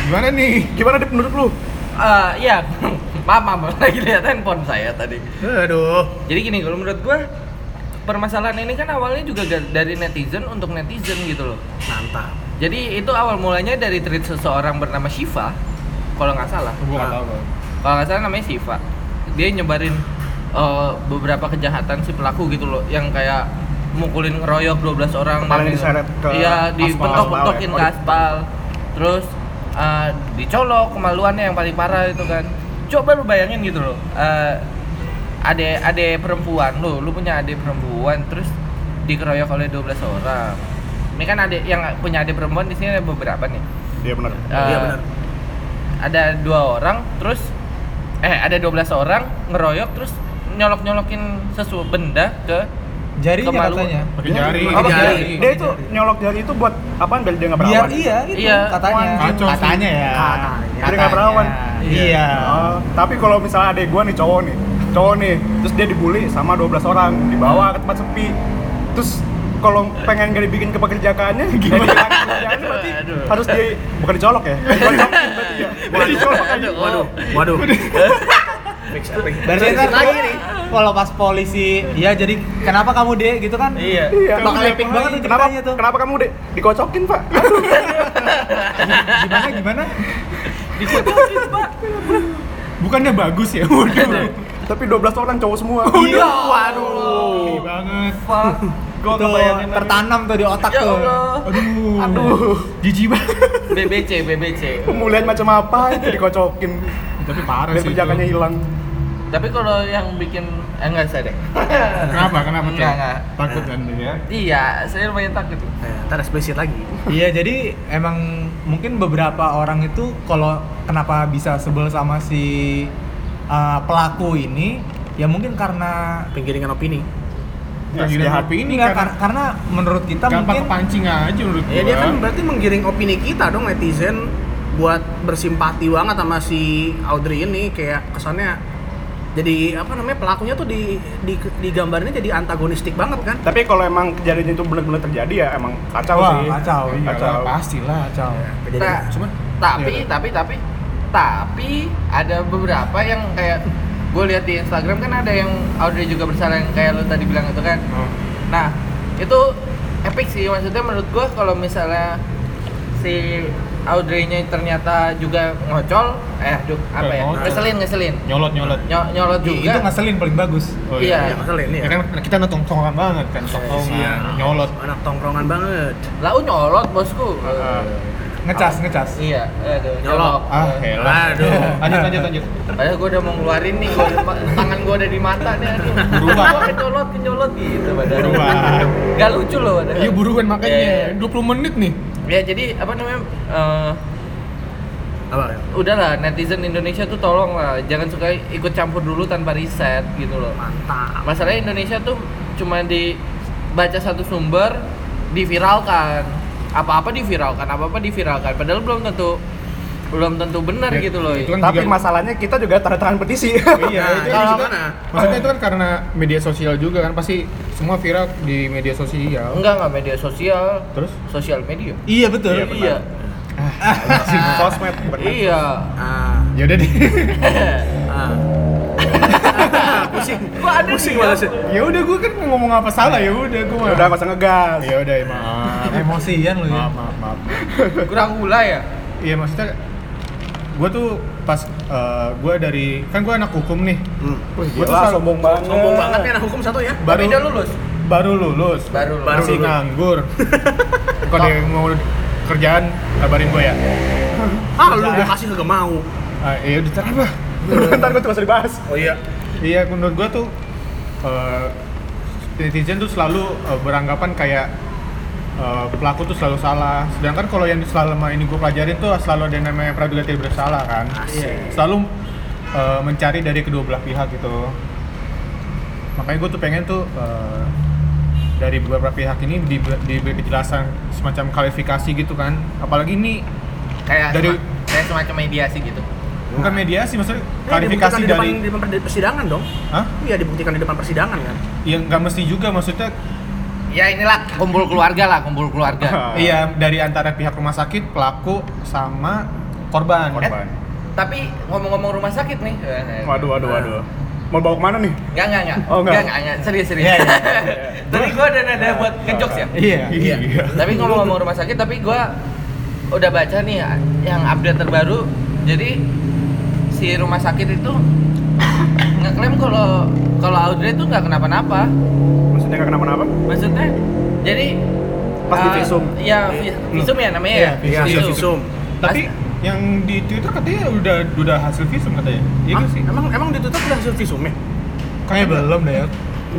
D: Gimana nih?
B: Gimana deh menurut lu?
A: Eh, iya maaf maaf lagi lihat handphone saya tadi
C: Aduh.
A: jadi gini kalau menurut gua permasalahan ini kan awalnya juga ga- dari netizen untuk netizen gitu loh
C: Mantap.
A: jadi itu awal mulanya dari tweet seseorang bernama Shiva kalau nggak salah
D: Gua nggak tahu.
A: kalau nggak salah namanya Siva dia nyebarin eh, beberapa kejahatan si pelaku gitu loh yang kayak mukulin ngeroyok 12 orang
B: Kepalanya
A: dan-
B: diseret ke
A: iya
B: aspal.
A: dibentok-bentokin
B: Aspal
A: ke
B: ya?
A: aspal terus eh, dicolok kemaluannya yang paling parah itu kan coba lu bayangin gitu loh eh, ade ade perempuan lu lu punya ade perempuan terus dikeroyok oleh 12 orang ini kan ade yang punya ade perempuan di sini ada beberapa nih
B: Iya benar.
C: Iya,
A: Eh,
C: benar.
A: Ada dua orang, terus eh ada 12 orang ngeroyok terus nyolok-nyolokin sesuatu benda ke
E: Jarinya
A: Kemaluan.
E: katanya.
D: Pakai jari.
A: Apa
D: pakai
A: jari?
B: Dia itu nyolok jari itu buat apaan biar dia nggak
E: Biar
B: berawan?
E: iya gitu
A: Iya.
E: katanya.
D: Kacau sih.
E: katanya ya.
C: Katanya.
B: Biar nggak berawan.
E: Iya.
B: Oh, tapi kalau misalnya adek gua nih cowok nih, cowok nih, terus dia dibully sama 12 orang, dibawa ke tempat sepi. Terus kalau pengen gak dibikin kepekerjaannya, gimana kepekerjaannya berarti
A: Aduh.
B: harus di bukan dicolok ya? Bukan dicolok berarti ya. Bukan dicolok aja.
A: Aduh, oh.
C: Waduh, waduh.
E: Berarti ntar
C: lagi nih.
E: Kalau pas polisi, ya jadi kenapa kamu deh gitu kan?
A: Iya.
B: Iya.
E: Bakal epic banget tuh
B: Kenapa,
E: ceritanya tuh.
B: kenapa kamu Dek? dikocokin pak?
E: Gimana gimana?
D: Bukannya bagus ya? Waduh.
B: Tapi 12 orang cowok semua.
E: Iya.
D: Waduh. banget.
A: Fuck.
B: Gua
E: Itu
B: kebayangin lagi.
E: tertanam tuh di otak
A: Ya
E: tuh.
A: Allah.
D: Aduh.
B: Aduh,
D: Jijik banget.
A: BBC, BBC.
B: pemulihan macam apa itu dikocokin
D: Tapi parah
B: biar
D: sih. itu.
B: perjakannya hilang.
A: Tapi kalau yang bikin eh, enggak saya deh.
D: Kenapa? Kenapa tuh?
A: Enggak, enggak.
D: Takut kan dia?
A: Iya, saya lumayan takut.
C: Nah, Ntar eksplisit lagi.
E: Iya, jadi emang mungkin beberapa orang itu kalau kenapa bisa sebel sama si uh, pelaku ini ya mungkin karena
C: Penggiringan opini.
B: Ya,
D: Penggiringan
B: sejahat.
D: opini
E: Nggak,
D: karena
E: kar- karena menurut kita
D: gampang
E: mungkin
D: kepancing aja menurut gua.
C: Ya dia kan berarti menggiring opini kita dong netizen buat bersimpati banget sama si Audrey ini kayak kesannya jadi apa namanya pelakunya tuh di, di digambarnya jadi antagonistik banget kan
B: Tapi kalau emang kejadian itu benar-benar terjadi ya emang kacau
E: Wah,
B: sih.
E: kacau.
D: Iya,
B: Kacau.
D: pastilah.
E: kacau.
C: Jadi,
A: Tak.
D: Cuma
A: tapi
D: Iya.
A: tapi tapi tapi ada beberapa yang kayak gue lihat di Instagram kan ada yang Audrey juga bersalah yang kayak lo tadi bilang itu kan
D: Oh.
A: nah itu epic sih maksudnya menurut gue kalau misalnya si Audrey-nya ternyata juga ngocol eh aduh apa
D: Eh,
A: ya
D: ngocol.
A: ngeselin ngeselin
D: nyolot nyolot.
A: Nyo- nyolot
E: Ih, itu
A: juga
E: ngeselin paling bagus.
D: Oh,
A: Iya.
C: ya masalah ini
D: Ya
C: ya.
D: kan kita nongkrong banget kan, nongkrongan,
C: Iya.
D: nyolot.
C: Anak tongkrongan banget.
A: lau nyolot bosku
B: Ah.
E: ngecas ngecas
A: Iya, aduh,
C: Nyolok.
A: nyolok.
E: ah
A: Eh,
E: helah
C: Aduh.
D: lanjut lanjut lanjut
A: Padahal gue udah mau ngeluarin nih, gua, tangan gue ada di mata nih, aduh.
D: Berubah.
A: Gua kecolot, kecolot gitu padahal.
B: Berubah.
A: Gak lucu loh padahal.
D: Iya buruan makanya
A: Iya,
D: 20 menit nih.
A: iya. Ya jadi apa namanya? eh,
C: Apa? ya?
A: udahlah netizen Indonesia tuh tolong lah jangan suka ikut campur dulu tanpa riset gitu loh
C: Mantap.
A: masalahnya Indonesia tuh cuma dibaca satu sumber diviralkan apa-apa diviralkan apa-apa diviralkan padahal belum tentu belum tentu benar
D: Ya,
A: gitu loh
D: itu kan
B: Tapi
D: juga-
B: masalahnya kita juga tanda tangan petisi.
D: Iya,
C: Nah, jadi
D: itu kalau-
C: gimana?
D: Maksudnya itu kan karena media sosial juga kan pasti semua viral di media sosial.
A: enggak enggak media sosial
D: Terus?
A: sosial media
E: iya betul
B: Iya,
A: iya
B: Si sosmed benar.
A: iya
C: Ah,
D: Ya udah deh.
C: ah. pusing.
A: Kok ada
C: pusing
A: nih,
C: malah
A: ya?
D: ya udah gue kan mau ngomong apa salah ya udah gue.
B: Ya Udah nggak usah ngegas.
D: Ya udah ya maaf.
E: emosian lu ya
D: maaf maaf maaf.
A: kurang gula ya
D: Iya maksudnya gue tuh pas gue dari kan gue anak hukum nih.
C: Hmm.
D: Gue tuh
B: Gila,
D: selalu
B: sombong banget.
C: Sombong banget nih anak hukum satu ya.
A: baru
D: baru
A: udah lulus
D: baru lulus
A: Baru lulus.
D: masih
C: Baru lulus.
D: nganggur. Kalau ada yang mau kerjaan kabarin gue ya.
C: Ah, lu gue kasih kagak mau.
D: Ah, ya udah terang lah.
B: Ntar gue terus dibahas.
C: Oh iya.
D: Iya, menurut gua tuh eh, netizen tuh selalu eh, beranggapan kayak eh, pelaku tuh selalu salah. Sedangkan kalau yang selama ini gua pelajarin tuh selalu ada yang namanya praduga tidak bersalah kan.
C: Asik.
D: Selalu eh, mencari dari kedua belah pihak gitu. Makanya gua tuh pengen tuh eh, dari beberapa pihak ini dibe- diberi kejelasan semacam klarifikasi gitu kan. Apalagi ini
A: kayak
D: Dari-
A: sema- kayak semacam mediasi gitu
D: bukan mediasi maksudnya
C: Ini Eh, dibuktikan
D: klarifikasi
C: kan di depan,
D: dari
C: di depan perdi- persidangan dong.
D: Hah? Iya
C: Iya dibuktikan di depan persidangan kan.
D: Yang nggak mesti juga maksudnya
A: ya inilah kumpul keluarga lah kumpul keluarga
B: Ah.
D: Iya, dari antara pihak rumah sakit, pelaku sama korban.
B: Korban.
A: tapi ngomong-ngomong rumah sakit nih
B: Eh,
A: Nah,
B: Waduh, waduh,
D: Nah.
B: waduh. Mau bawa kemana nih?
A: Enggak, enggak, enggak.
B: Oh, enggak.
A: enggak, enggak. Serius, serius.
E: Iya, iya,
A: Tadi gua ada nada buat ngejokes ya.
E: iya
D: Iya.
A: Tapi ngomong-ngomong rumah sakit, tapi gua udah baca nih yang update terbaru. Jadi si rumah sakit itu ngeklaim kalau kalau Audrey itu nggak kenapa-napa.
B: Maksudnya nggak kenapa-napa?
A: Maksudnya jadi
B: Pas di
A: eh,
B: visum.
A: Iya, vi- visum ya namanya ya.
D: Iya,
C: Iya,
D: visum.
C: visum.
D: Tapi yang di Twitter katanya udah udah hasil visum katanya. Iya
C: Ah,
D: nggak sih?
C: Emang emang ditutup udah hasil visum ya?
E: kayaknya belum deh ya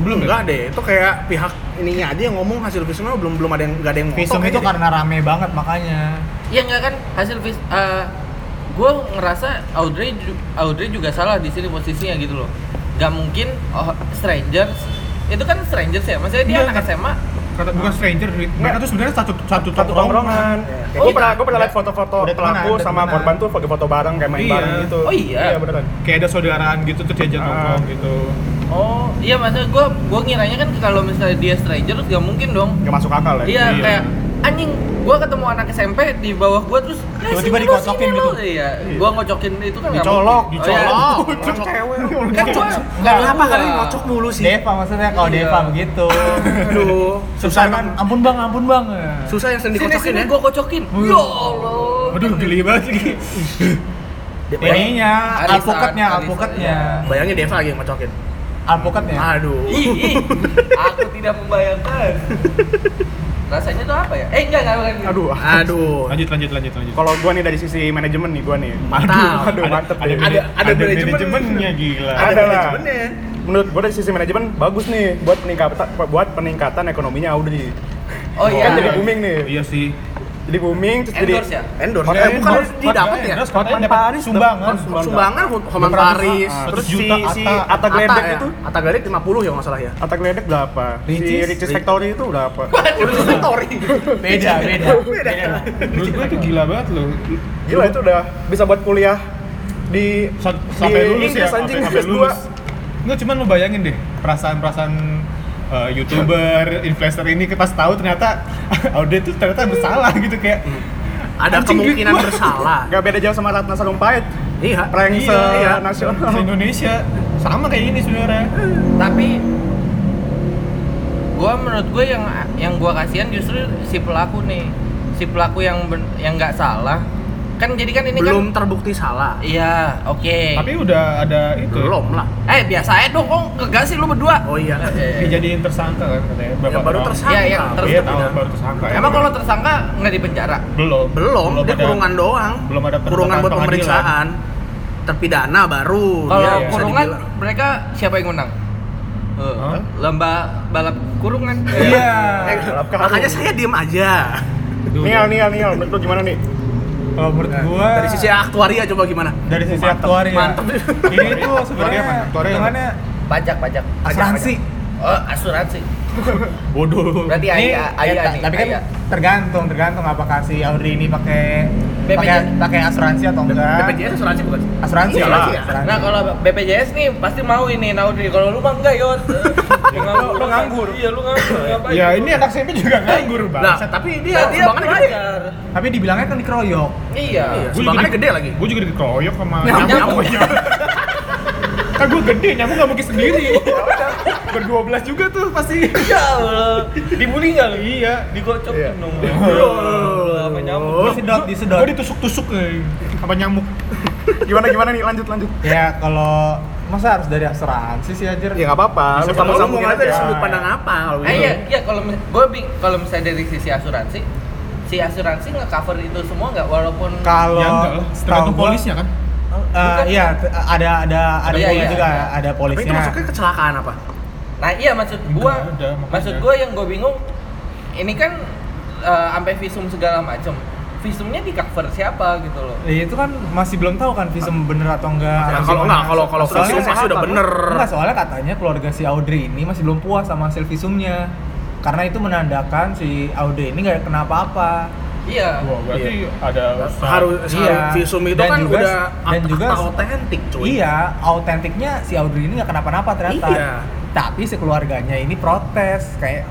D: Belum
C: Enggak deh, itu kayak pihak ininya aja yang ngomong hasil visumnya belum belum ada yang nggak ada yang
E: visum
C: ngotot
E: itu kan-
C: kayaknya.
E: karena rame banget makanya
A: Iya enggak kan hasil vis gue ngerasa Audrey ju- Audrey juga salah di sini posisinya gitu loh. Gak mungkin oh, strangers itu kan strangers ya, maksudnya dia anak
D: Enggak,
A: SMA.
D: Kata bukan stranger, mereka tuh sebenarnya satu satu
B: Satu tongkrongan.
C: Iya.
B: Gue pernah,
A: Iya.
B: gue pernah lihat foto-foto
E: Udah
B: pelaku
E: temenan,
B: sama
E: udah
B: korban tuh pakai foto bareng kayak main
D: Iya.
B: bareng gitu.
A: Oh, iya.
B: Iya beneran.
D: Kayak ada saudaraan gitu terus diajak
B: Ah.
D: nongkrong gitu.
A: Oh, iya maksudnya gue gue ngiranya kan kalau misalnya dia stranger gak mungkin dong.
B: Gak masuk akal ya.
A: Iya
D: iya.
A: kayak anjing gue ketemu anak SMP di bawah gue terus "Eh,
E: Tiba-tiba
A: sini lu,
E: dikocokin
A: sini
E: gitu.
A: lu." Iya, gue ngocokin itu kan nggak
D: Dicolok,
A: mungkin.
D: dicolok.
A: Oh,
B: Cuk, cewek.
A: iya. Kan gue
E: Nggak,
C: Kenapa kalian ngocok mulu sih?
E: Deva maksudnya kalau
A: Iya.
E: Deva begitu
C: Aduh, susah
E: kan
C: kan.
E: ampun bang ampun bang
C: Susah yang sering
A: Sini
C: dikocokin
A: sini
C: ya.
A: gue kocokin.
E: Wih.
A: Ya Allah.
D: Aduh, geli banget ini.
E: ininya
A: Arisan,
E: alpukatnya
A: arisan,
E: alpukatnya
C: Bayangin Deva lagi yang ngocokin.
B: Kan
E: alpukatnya
C: Aduh.
A: Ih, ih, aku tidak membayangkan. Rasanya tuh apa ya? Eh enggak enggak bukan.
B: Aduh.
C: Aduh.
D: Lanjut lanjut lanjut lanjut.
B: Kalau gue nih dari sisi manajemen nih gue nih.
C: Mantap.
B: Aduh, mantep deh.
C: ada- ada manajemen.
D: manajemennya gila. Kan
B: Ada lah.
C: manajemennya.
B: Menurut gue dari sisi manajemen bagus nih buat peningkatan buat peningkatan ekonominya Audrey.
A: Oh iya.
B: Kan jadi booming nih.
D: Iya sih.
B: Jadi booming terus jadi
A: Endorse ya?
C: Endorse.
B: Makanya
C: Eh, bukan didapat ya?
D: Terus katanya dapat sumbangan.
C: Sumbangan Homan
D: Berapa?
C: Paris,
D: Ah,
C: terus
B: si,
D: Juta
B: si
D: Atta.
B: Atta Gledek
C: Atta ya.
B: itu
C: Atta Gledek 50 ya nggak salah ya.
B: Atta Gledek berapa? Si
E: Ricis?
B: Ricis Factory itu berapa?
C: Udah story.
E: beda beda
C: Beda.
D: Menurut gue itu gila banget loh.
B: Gila itu udah bisa buat kuliah di
D: Sa-
B: di
D: sampai lulus ya,
B: Inggris anjing
D: sampai, sampai
B: S2.
D: lulus. Enggak cuman lu bayangin deh perasaan-perasaan eh, youtuber, influencer ini pas tahu ternyata Aude tuh ternyata bersalah gitu kayak
C: Ada
D: Anjing, duit
C: kemungkinan
D: gua.
C: bersalah.
B: Gak beda jauh sama Ratna Sarumpait,
C: Iya.
B: prank
D: Iya.
B: se nasional.
D: Indonesia sama kayak ini sebenarnya.
A: Tapi gua menurut gue yang yang gua kasihan justru si pelaku nih. Si pelaku yang ben- yang nggak salah kan jadi kan ini
C: belum
A: kan
C: terbukti salah
A: iya oke
D: Tapi udah ada itu. ya,
C: belum lah
A: eh biasa aja dong kok enggak sih lu berdua
C: oh iya
A: Eh,
D: Dijadiin tersangka kan katanya.
C: ya,
D: Bapak
C: baru
D: tahu.
C: tersangka
A: Iya, iya, terus
D: Iya, tahu
C: terpidana.
D: baru tersangka.
A: ya. emang kalau tersangka nggak di penjara
C: Iya,
D: belum
C: belum dia
D: ada-
C: kurungan doang
D: belum ada penetapan
C: kurungan buat
D: pengadilan.
C: pemeriksaan terpidana baru
A: kalau
C: dia bisa
A: kurungan
C: dibilang. kan?
A: mereka siapa yang ngundang Eh,
D: Hah?
A: lomba balap kurungan
E: Iya.
B: Balap karung.
C: makanya saya diem aja
B: Eh, Nial, nial, nial. Menurut lu gimana nih?
E: Kalau menurut gua
C: dari sisi aktuaria coba gimana
E: dari sisi
D: Mantep.
E: aktuaria.
C: Mantep.
E: Ini tuh
D: Aktuaria
E: sebenarnya
D: apa? Aktuaria apa?
E: hitungannya
A: pajak pajak
E: asuransi.
A: oh asuransi
D: bodoh
A: berarti
E: Ini-
A: ayah ayah
E: ya,
A: nih
E: tapi kan
A: ayah.
E: tergantung, tergantung apakah si Audrey ini pakai
A: BPJS.
E: pakai pakai asuransi atau
A: ya?
E: enggak.
C: BPJS asuransi bukan sih?
E: Asuransi
C: Iya,
E: lah.
C: iya.
E: Asuransi.
A: Nah kalau BPJS nih pasti mau ini Naudri. Kalau lu mah enggak Yot. Lu nganggur.
E: Lu nganggur.
A: Iya lu nganggur. Ngapain?
D: ya ini anak SMP juga nganggur
C: nah
D: bang
C: tapi dia
A: Dia dia
C: sumbangannya gede
A: belajar.
E: Tapi dibilangnya kan dikeroyok.
A: Iya.
C: iya
D: Gua juga
C: sumbangannya
D: di-
C: gede lagi
D: gue juga dikeroyok sama
C: Nyamuk.
D: nyamuk kan gue gede nyamuk gak mungkin sendiri berdua belas juga tuh pasti
A: Ya Allah. Dibully enggak lu?
D: iya
A: Dikocokin dong. Apa nyamuk?
E: Oh. Disedot, disedot.
D: gue ditusuk-tusuk eh, sama nyamuk
B: Gimana, gimana nih? Lanjut, lanjut.
E: Ya kalau masa harus dari asuransi sih anjir.
B: Ya nggak apa-apa.
D: Ah,
B: Lu
C: sama
B: sama
C: lu
B: sambungin
C: mau dari
B: aja.
C: sudut pandang apa kalau
A: Eh,
C: gitu?
A: iya, iya kalau gue kalau misalnya dari sisi asuransi, si asuransi nge-cover itu semua nggak walaupun
E: Kalau
D: ya enggak lah
E: setahu
D: tergantung
E: gua-
D: polisnya kan
E: Eh, iya, t- ada ada ada
A: Iya,
E: polis
A: iya.
E: juga, ada
C: tapi itu
E: polisnya.
C: masuknya kecelakaan apa?
A: Nah iya maksud gua,
D: Enggak ada, makanya.
A: maksud gua yang gua bingung, ini kan eh, sampai visum segala macem, visumnya di cover siapa gitu loh?
E: Ya, itu kan masih belum tahu kan visum bener atau enggak.
C: Ya,
E: Visum
C: kalau
E: kan-
C: enggak, kalau- kalau
E: soalnya-
C: visum pasti udah bener.
E: Enggak, soalnya katanya keluarga si Audrey ini masih belum puas sama hasil visumnya. Karena itu menandakan si Audrey ini nggak kenapa-apa.
A: Iya.
D: wah berarti ada usaha.
C: harus harus
E: Iya.
C: visum itu
E: Dan
C: kan
E: juga-
C: udah
E: dan
C: akta-
E: juga-
C: akta otentik cuy
E: Iya, autentiknya si Audrey ini nggak kenapa-napa ternyata.
C: Iya.
E: Tapi si keluarganya ini protes kayak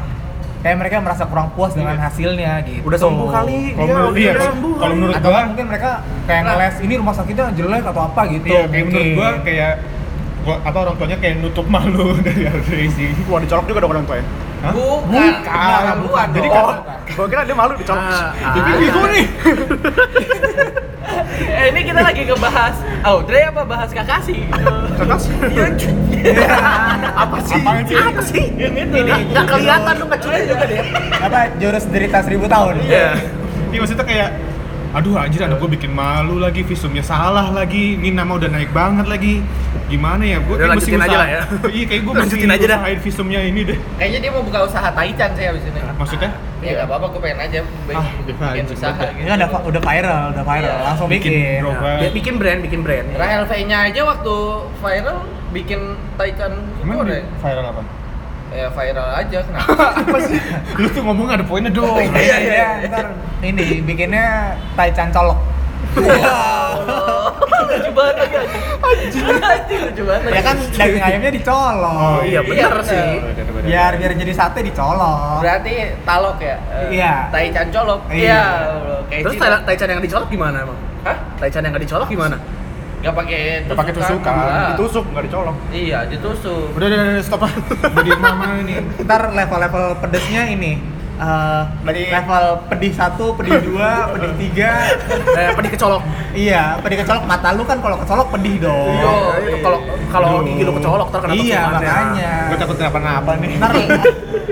E: kayak mereka merasa kurang puas
C: Iya.
E: dengan hasilnya gitu.
B: Udah sembuh kali
D: kalau
B: dia.
D: menurut
B: udah
D: dia
B: sembuh.
D: kalau menurut
E: atau
D: gua
E: kan mungkin mereka kayak
A: Nah.
E: ngeles ini rumah sakitnya jelek atau apa gitu.
D: iya kayak menurut
E: mungkin.
D: gua kayak gua apa orang tuanya kayak nutup malu dari Audrey sih
B: Wah, dicolok juga dong orang ya. tuanya.
D: Hah?
A: Bukan,
D: Bukan, bukan.
A: Jadi
D: Jadi
A: kan,
D: kan-
B: Gua kira dia malu dicolok.
C: Ah, ah.
D: nih
A: eh, ini kita lagi ngebahas Audrey apa bahas Kakasi?
B: Kakak sih.
D: Iya,
C: apa sih?
D: Apaan sih?
C: Apa sih?
A: yang itu nih.
C: Nggak kelihatan lu kecilnya juga deh.
E: apa jurus derita seribu tahun.
C: Iya.
D: Iya maksudnya kayak aduh anjir anak gue bikin malu lagi visumnya salah lagi ini nama udah naik banget lagi gimana ya gue
C: Udah, lanjutin aja lah ya.
D: iya kayak gue mesti
C: Lanjutin aja dah.
D: usahain visumnya ini deh
A: Kayaknya dia mau buka usaha Taichan sih abis ini.
D: maksudnya
A: Ya nggak apa-apa, gue pengen aja bikin,
D: Ah,
A: bikin
D: anjing,
A: usaha
D: bener.
E: Ini
A: gitu.
E: kan udah udah viral, udah viral,
A: Iya.
E: langsung bikin.
D: Bikin gerobak.
C: Ya, bikin brand, bikin brand.
A: Rahel V-nya aja waktu viral bikin Taichan
D: emang
A: gitu
D: di
A: deh.
D: viral apa
A: Ya viral aja kenapa?
D: lu tuh ngomong ada poinnya dong
E: Iya, iya, iya. Ntar ini bikinnya Taichan colok.
A: lucu banget lagi anjing anjing lucu banget
E: Ya kan daging ayamnya dicolok.
D: Oh,
C: Iya
A: Iya,
C: bener
A: bener.
C: sih.
E: Biar biar jadi sate dicolok.
A: berarti talok ya Eh,
E: Iya.
A: tai cancolok
E: Iya.
A: iya Allah. kayak
C: Terus
A: Cina.
C: tai- Taichan yang dicolok gimana emang?
A: hah
C: Taichan yang nggak dicolok gimana?
A: nggak pakai kan?
D: Nggak pakai tusukan,
A: Nggak.
B: Ditusuk, nggak dicolok.
A: iya ditusuk
D: udah udah udah udah, stop lah jadi mama ini
E: Ntar level-level pedesnya ini eh,
B: Dari-
E: level pedih satu, pedih dua, pedih tiga.
C: Eh, pedih kecolok.
E: iya, pedih kecolok mata lu kan kalau kecolok pedih dong.
C: Iya, itu kalau kalau
D: Aduh.
C: gigi lu kecolok ntar kena
E: iya,
C: ketutupan, ya.
E: makanya.
D: gue takut kenapa-napa nih
E: Ntar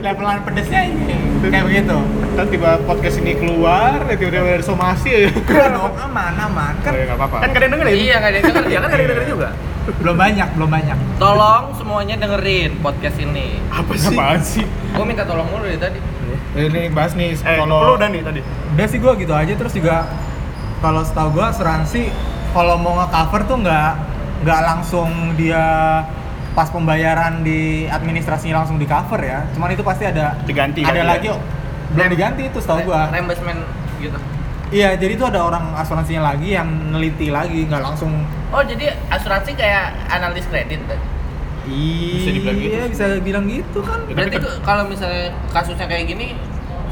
E: levelan pedesnya ini kayak begitu.
D: ntar tiba podcast ini keluar ya tiba-tiba ada somasi aja
E: Udah dong, aman, aman. Kan
D: kan nggak apa-apa
B: Kan kadang dengerin.
A: iya nggak ada yang denger
C: Iya
A: ya
C: kan
A: kan
C: nggak denger juga.
E: belum banyak, belum banyak.
A: tolong semuanya dengerin podcast ini
D: apa sih apaan sih
A: gue minta tolong mulu dari tadi
D: ini bahas nih
B: Eh,
D: kalau
B: lu udah nih tadi.
E: Udah sih gua gitu aja terus juga kalau setahu gua asuransi kalau mau nge-cover tuh nggak nggak langsung dia pas pembayaran di administrasinya langsung di cover ya. Cuman itu pasti ada
B: Diganti,
E: ada
B: ganti,
E: lagi
B: ya?
E: belum diganti itu setahu gua.
A: reimbursement gitu
E: Iya, jadi itu ada orang asuransinya lagi yang neliti lagi, nggak langsung
A: oh jadi asuransi kayak analis kredit
E: Iya,
D: dibilang gitu sih.
E: bisa bilang gitu kan.
D: Ya, tapi
A: berarti
D: kan-
A: ke- kalau misalnya kasusnya kayak gini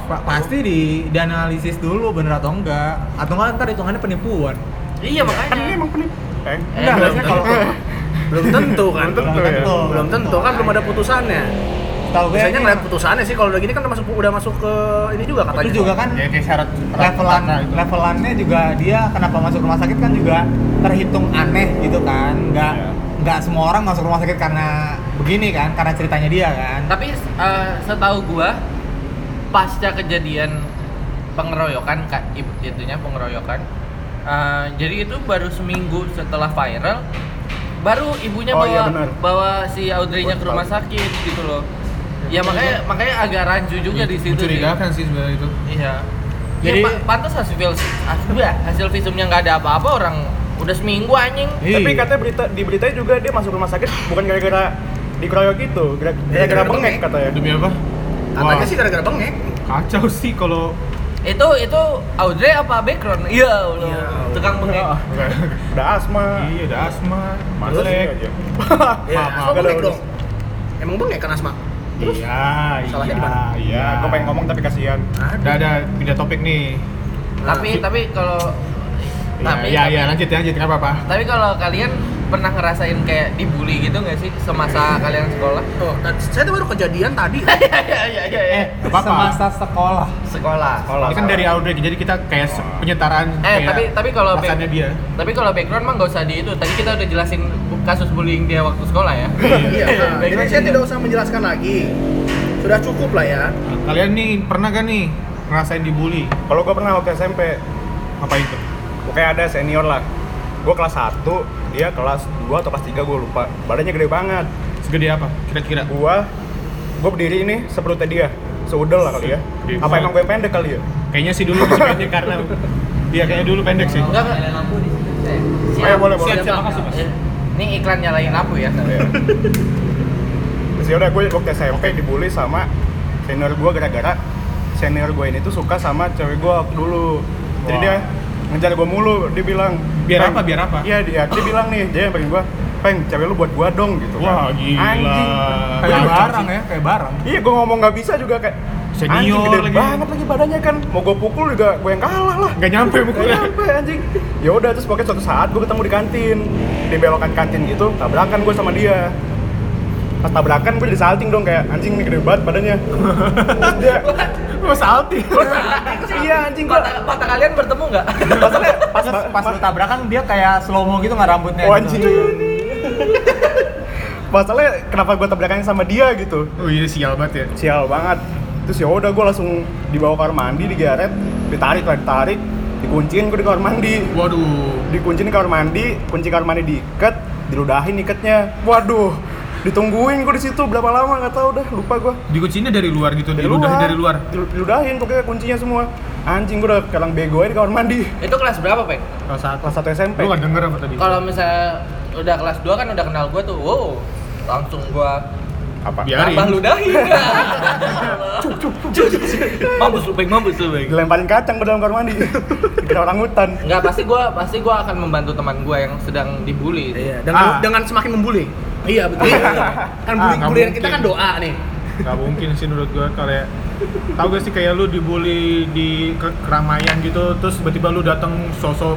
E: Pa- pasti di dianalisis dulu bener atau enggak. Atau enggak ntar hitungannya penipuan.
A: iya
B: Kan ini
A: makanya
B: emang penip. Eh,
A: Eh,
E: Enggak,
A: belum
E: harusnya kalau
C: Belum tentu kan.
B: Belum tentu ya.
C: Belum tentu kan belum ada putusannya.
E: Tahu gue
C: Biasanya
E: ini-
C: ngeliat putusannya sih kalau udah gini kan udah masuk udah masuk ke ini juga katanya.
E: Tapi juga kan
D: ya kayak syarat
E: levelan
D: rata gitu.
E: levelannya juga dia kenapa masuk rumah sakit kan juga terhitung aneh gitu kan nggak
B: Iya.
E: nggak semua orang masuk rumah sakit karena begini kan karena ceritanya dia kan
A: Tapi eh, setahu gua pasca kejadian pengeroyokan ka- i- itunya pengeroyokan. eh, jadi itu baru seminggu setelah viral baru ibunya
B: Oh,
A: bawa
B: iya, benar.
A: bawa si Audrey-nya ke rumah sakit gitu loh. Ya
B: Iya,
A: makanya makanya agak rancu juga Iya, di situ sih.
B: kan?
D: mencurigakan sih sebenarnya itu
A: Iya.
D: Jadi-
A: Jadi pantas hasil hasil, ya, hasil visumnya nggak ada apa-apa orang udah seminggu anjing.
B: Tapi katanya berita di beritanya juga dia masuk rumah sakit bukan gara-gara dikeroyok itu, gara-
D: Iya,
B: gara-gara bengek katanya.
D: demi apa
C: katanya
D: Wah,
C: sih gara-gara bengek.
D: kacau sih kalau
A: Itu itu Audrey apa background? Iya, Allah.
C: Iya.
A: tukang bengek.
B: Udah asma. Iya,
D: iya udah asma
B: Masuk
D: masuk
B: aja.
C: Ya,
D: Maaf,
C: asma
B: maaf.
C: bengek dong. Emang bengek kan asma?
D: iya
C: Salahnya di
D: iya
C: mana?
D: iya
B: Iya, gue pengen ngomong tapi kasihan.
D: udah ada pindah topik nih
A: tapi tapi kalau
D: Iya,
A: tapi
D: iya, iya,
A: tapi-
D: lanjut, lanjut, nggak apa-apa
A: tapi kalau kalian pernah ngerasain kayak dibully gitu nggak sih semasa kalian sekolah?
C: Tuh, dan Nah, saya tuh baru kejadian kan tadi.
A: Iya iya iya iya.
D: Eh, nggak apa-apa
E: semasa sekolah
A: Sekolah.
B: Kalau
D: Ini kan dari Audrey, jadi kita kayak se- penyetaraan
A: Eh,
D: kayak
A: tapi tapi kalau back-
D: rasanya dia
A: tapi kalau background mah nggak usah di itu. Tadi kita udah jelasin kasus bullying dia waktu sekolah ya.
C: Iya. nah,
A: Baik,
C: Jadi
A: baik.
C: saya tidak usah menjelaskan lagi. Sudah cukup lah ya.
D: Kalian nih, pernah gak nih ngerasain dibully?
B: Kalau gue pernah waktu SMP,
D: Apa itu?
B: gue kayak ada senior lah. Gue kelas 1, dia kelas 2 atau kelas 3 gue lupa. Badannya gede banget.
D: Segede apa? Kira-kira?
B: Gue gue berdiri ini seperutnya dia. Seudel lah kali ya.
D: Gede
B: Apa
D: banget.
B: emang gue pendek kali ya?
D: Kayaknya sih dulu masih pendek karena Iya, kayaknya dulu pendek sih
A: Enggak enggak.
B: Ayo, boleh, boleh.
A: Siap, siap, makasih, Mas. Ini iklan nyalain lampu ya.
B: Iya. Terus yaudah gue waktu SMP dibully sama senior gue gara-gara senior gue ini tuh suka sama cewek gue waktu dulu. Jadi
D: Wah.
B: dia ngejar gue mulu, dia bilang
D: Biar
B: "Peng."
D: apa, biar apa?
B: Iya dia, dia bilang nih, dia yang pengen gue, peng cewek lu buat gue dong gitu.
D: Wah,
B: kan.
D: gila.
B: Anjing.
E: kayak
D: Kacau
E: barang
D: sih.
E: ya kayak barang
B: Iya gue ngomong nggak bisa juga kayak
D: Senior
B: anjing gede
D: lagi.
B: banget lagi badannya kan mau gue pukul juga gue yang kalah lah
D: Nggak nyampe mukulnya.
B: Nggak nyampe anjing ya udah terus pokoknya suatu saat gue ketemu di kantin di belokan kantin gitu tabrakan gue sama dia pas tabrakan gue jadi salting dong kayak anjing nih gede banget badannya Terus dia
D: Gue salting
B: iya anjing gue
A: Mata, mata kalian bertemu nggak?
B: masalahnya pas
E: pas pas lu tabrakan dia kayak slow mo gitu nggak rambutnya
B: oh, anjing
E: gitu.
B: masalahnya kenapa gue tabrakannya sama dia gitu
D: Oh iya, sial banget ya
B: sial banget terus ya udah gue langsung dibawa ke kamar mandi digeret ditarik lah ditarik dikunciin gue di kamar mandi
D: Waduh
B: dikunciin di kamar mandi kunci kamar mandi diikat diludahin ikatnya waduh ditungguin gue di situ berapa lama nggak tahu dah lupa gue
D: Dikuncinya dari luar gitu, diludahin dari luar
B: Dilu- diludahin pokoknya kuncinya semua anjing gue udah kalang bego aja di kamar mandi
A: Itu kelas berapa, Peng?
D: Kelas satu
B: kelas 1 SMP
D: Lu gak denger apa tadi?
A: Kalau misalnya udah kelas 2 kan udah kenal gua tuh. Wow, langsung gua
B: apa
D: Biarin
A: tambah ludahin. Ya. Cuk, cuk, cuk, cuk, cuk. Mampus lu, Peng, mampus lu, Peng.
B: dilemparin kacang ke dalam kamar mandi kira orang hutan
A: Enggak, pasti gua pasti gua akan membantu teman gua yang sedang dibully.
C: Iya, dengan
D: Ah.
C: dengan semakin membuli. Iya, betul. kan
D: Ah, nggak
C: bully-bulian kita kan
D: mungkin.
C: doa nih.
D: Gak mungkin sih menurut gue kayak tahu gak sih kayak lu dibully di ke- keramaian gitu terus tiba-tiba lu datang sosok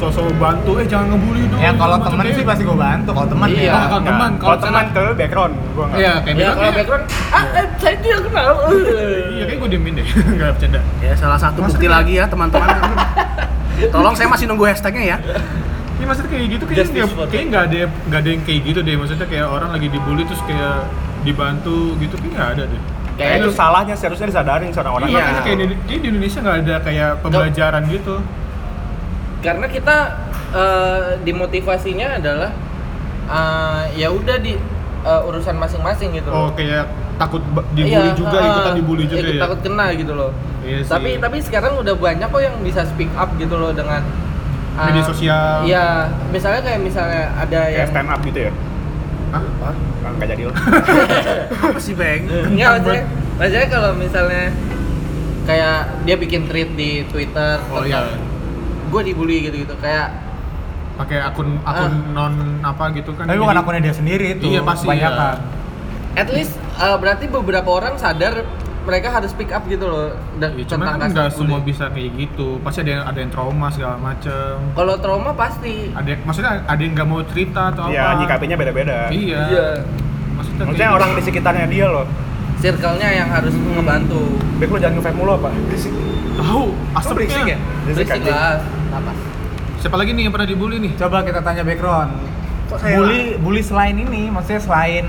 D: sosok bantu eh jangan ngebully dong
E: ya kalau
D: macam
E: temen
D: dia.
E: sih pasti gue bantu kalau temen
A: Iya.
E: ya
D: Kalau teman,
B: kalau
D: kalau
B: Nah, teman ke background gue nggak
D: iya kayak
A: Ya,
D: bilang
A: kalau
D: kayak-
A: background, ah, eh, saya tidak kenal.
D: iya kayak gue diemin deh nggak bercanda
C: Ya, salah satu bukti lagi ya, teman-teman. Tolong saya masih nunggu hashtagnya ya.
D: ini maksudnya kayak gitu kayak
A: Justice
D: nggak
A: for
D: kayak nggak ada nggak ada yang kayak gitu deh maksudnya kayak orang lagi dibully terus kayak dibantu gitu kayak nggak ada deh
B: kayak itu
A: gitu.
B: salahnya seharusnya disadarin seorang orang kan.
D: Iya, makanya kayak di, kayak di Indonesia nggak ada kayak pembelajaran gitu.
A: karena kita eh, dimotivasinya adalah eh, ya udah di eh, urusan masing-masing gitu
D: Oh,
A: loh.
D: kayak takut ba- dibully
A: Iya,
D: juga,
A: eh,
D: ikutan dibully juga
A: ikut
D: ya.
A: takut kena gitu loh.
D: Iya sih.
A: tapi tapi sekarang udah banyak kok yang bisa speak up gitu loh dengan eh,
D: Media sosial.
A: Iya, misalnya kayak misalnya ada
B: kayak
A: yang
B: stand up gitu ya
D: Hah?
B: Ah, nggak jadi lah
C: Apa sih, Beng?
A: Enggak, maksudnya, maksudnya kalau misalnya kayak dia bikin tweet di Twitter
D: Oh iya.
A: gue dibully gitu-gitu kayak
D: pakai akun akun
A: Ah.
D: non apa gitu kan.
E: tapi
D: jadi-
E: bukan akunnya dia sendiri itu
D: Iya, pasti,
E: banyak
D: iya.
A: at least uh, berarti beberapa orang sadar mereka harus pick up gitu loh dan
D: Iya, cuman kan
A: kasus
D: nggak
A: bully.
D: semua bisa kayak gitu. Pasti ada yang ada yang trauma segala macem.
A: kalau trauma pasti
D: Ada yang- maksudnya ada yang nggak mau cerita atau
B: Iya,
D: apa?
B: nyikapinnya beda-beda.
D: Iya.
A: Iya.
D: Maksud
B: maksudnya orang di sekitarnya dia loh
A: circle-nya yang harus
D: Hmm.
A: ngebantu
B: Bek lu jangan nge mulu apa? Berisik
D: Tahu,
B: Lu berisik ya?
D: asapnya.
B: Berisik
A: berisik
B: anjing
A: lah apa
D: Siapa lagi nih yang pernah dibully nih?
E: Coba kita tanya background.
C: Kok saya
E: Bully, bully selain ini, maksudnya selain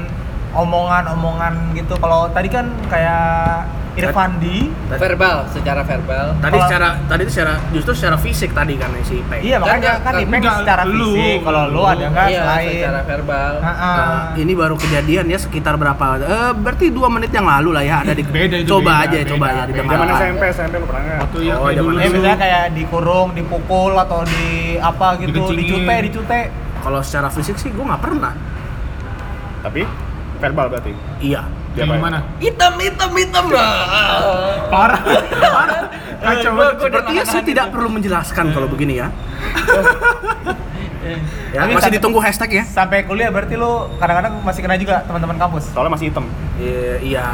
E: omongan-omongan gitu. Kalau tadi kan kayak Irfandi,
A: verbal secara verbal
C: Tadi
E: Kalau-
C: secara tadi secara justru secara fisik tadi kan ya, si Peng.
E: iya makanya
A: Enggak,
E: kan
A: enggak,
E: Ipeng
D: enggak,
E: secara
D: lu.
E: fisik. Kalau lu ada
D: Nah,
E: nggak
A: iya
E: selain?
A: secara verbal
E: Ah, ah.
C: Nah, ini baru kejadian ya sekitar berapa? Eh, berarti dua menit yang lalu lah ya ada di
D: Beda itu,
C: coba
D: beda,
C: aja
D: beda,
C: coba ya di
A: beda.
C: depan.
B: Zaman
A: Malah.
B: SMP, SMP lu pernah nggak?
D: Waktu yang
C: Oh,
D: kayak
C: zaman
D: dulu.
E: Eh, misalnya kayak dikurung, dipukul atau di apa gitu,
D: Dikencingin.
E: dicute, dicute.
C: Kalau secara fisik sih gue nggak pernah.
B: Tapi verbal berarti
C: Iya.
D: Yang
B: Diapain?
D: gimana?
A: hitam hitam hitam lah
D: Parah. Parah. Kacau banget.
C: Sepertinya saya tidak perlu menjelaskan kalau begini ya. ya
E: Tapi
C: masih
E: tadi-
C: ditunggu hashtag ya.
E: Sampai kuliah berarti lu kadang-kadang masih kena juga teman-teman kampus.
B: Soalnya masih hitam
C: Iya, iya.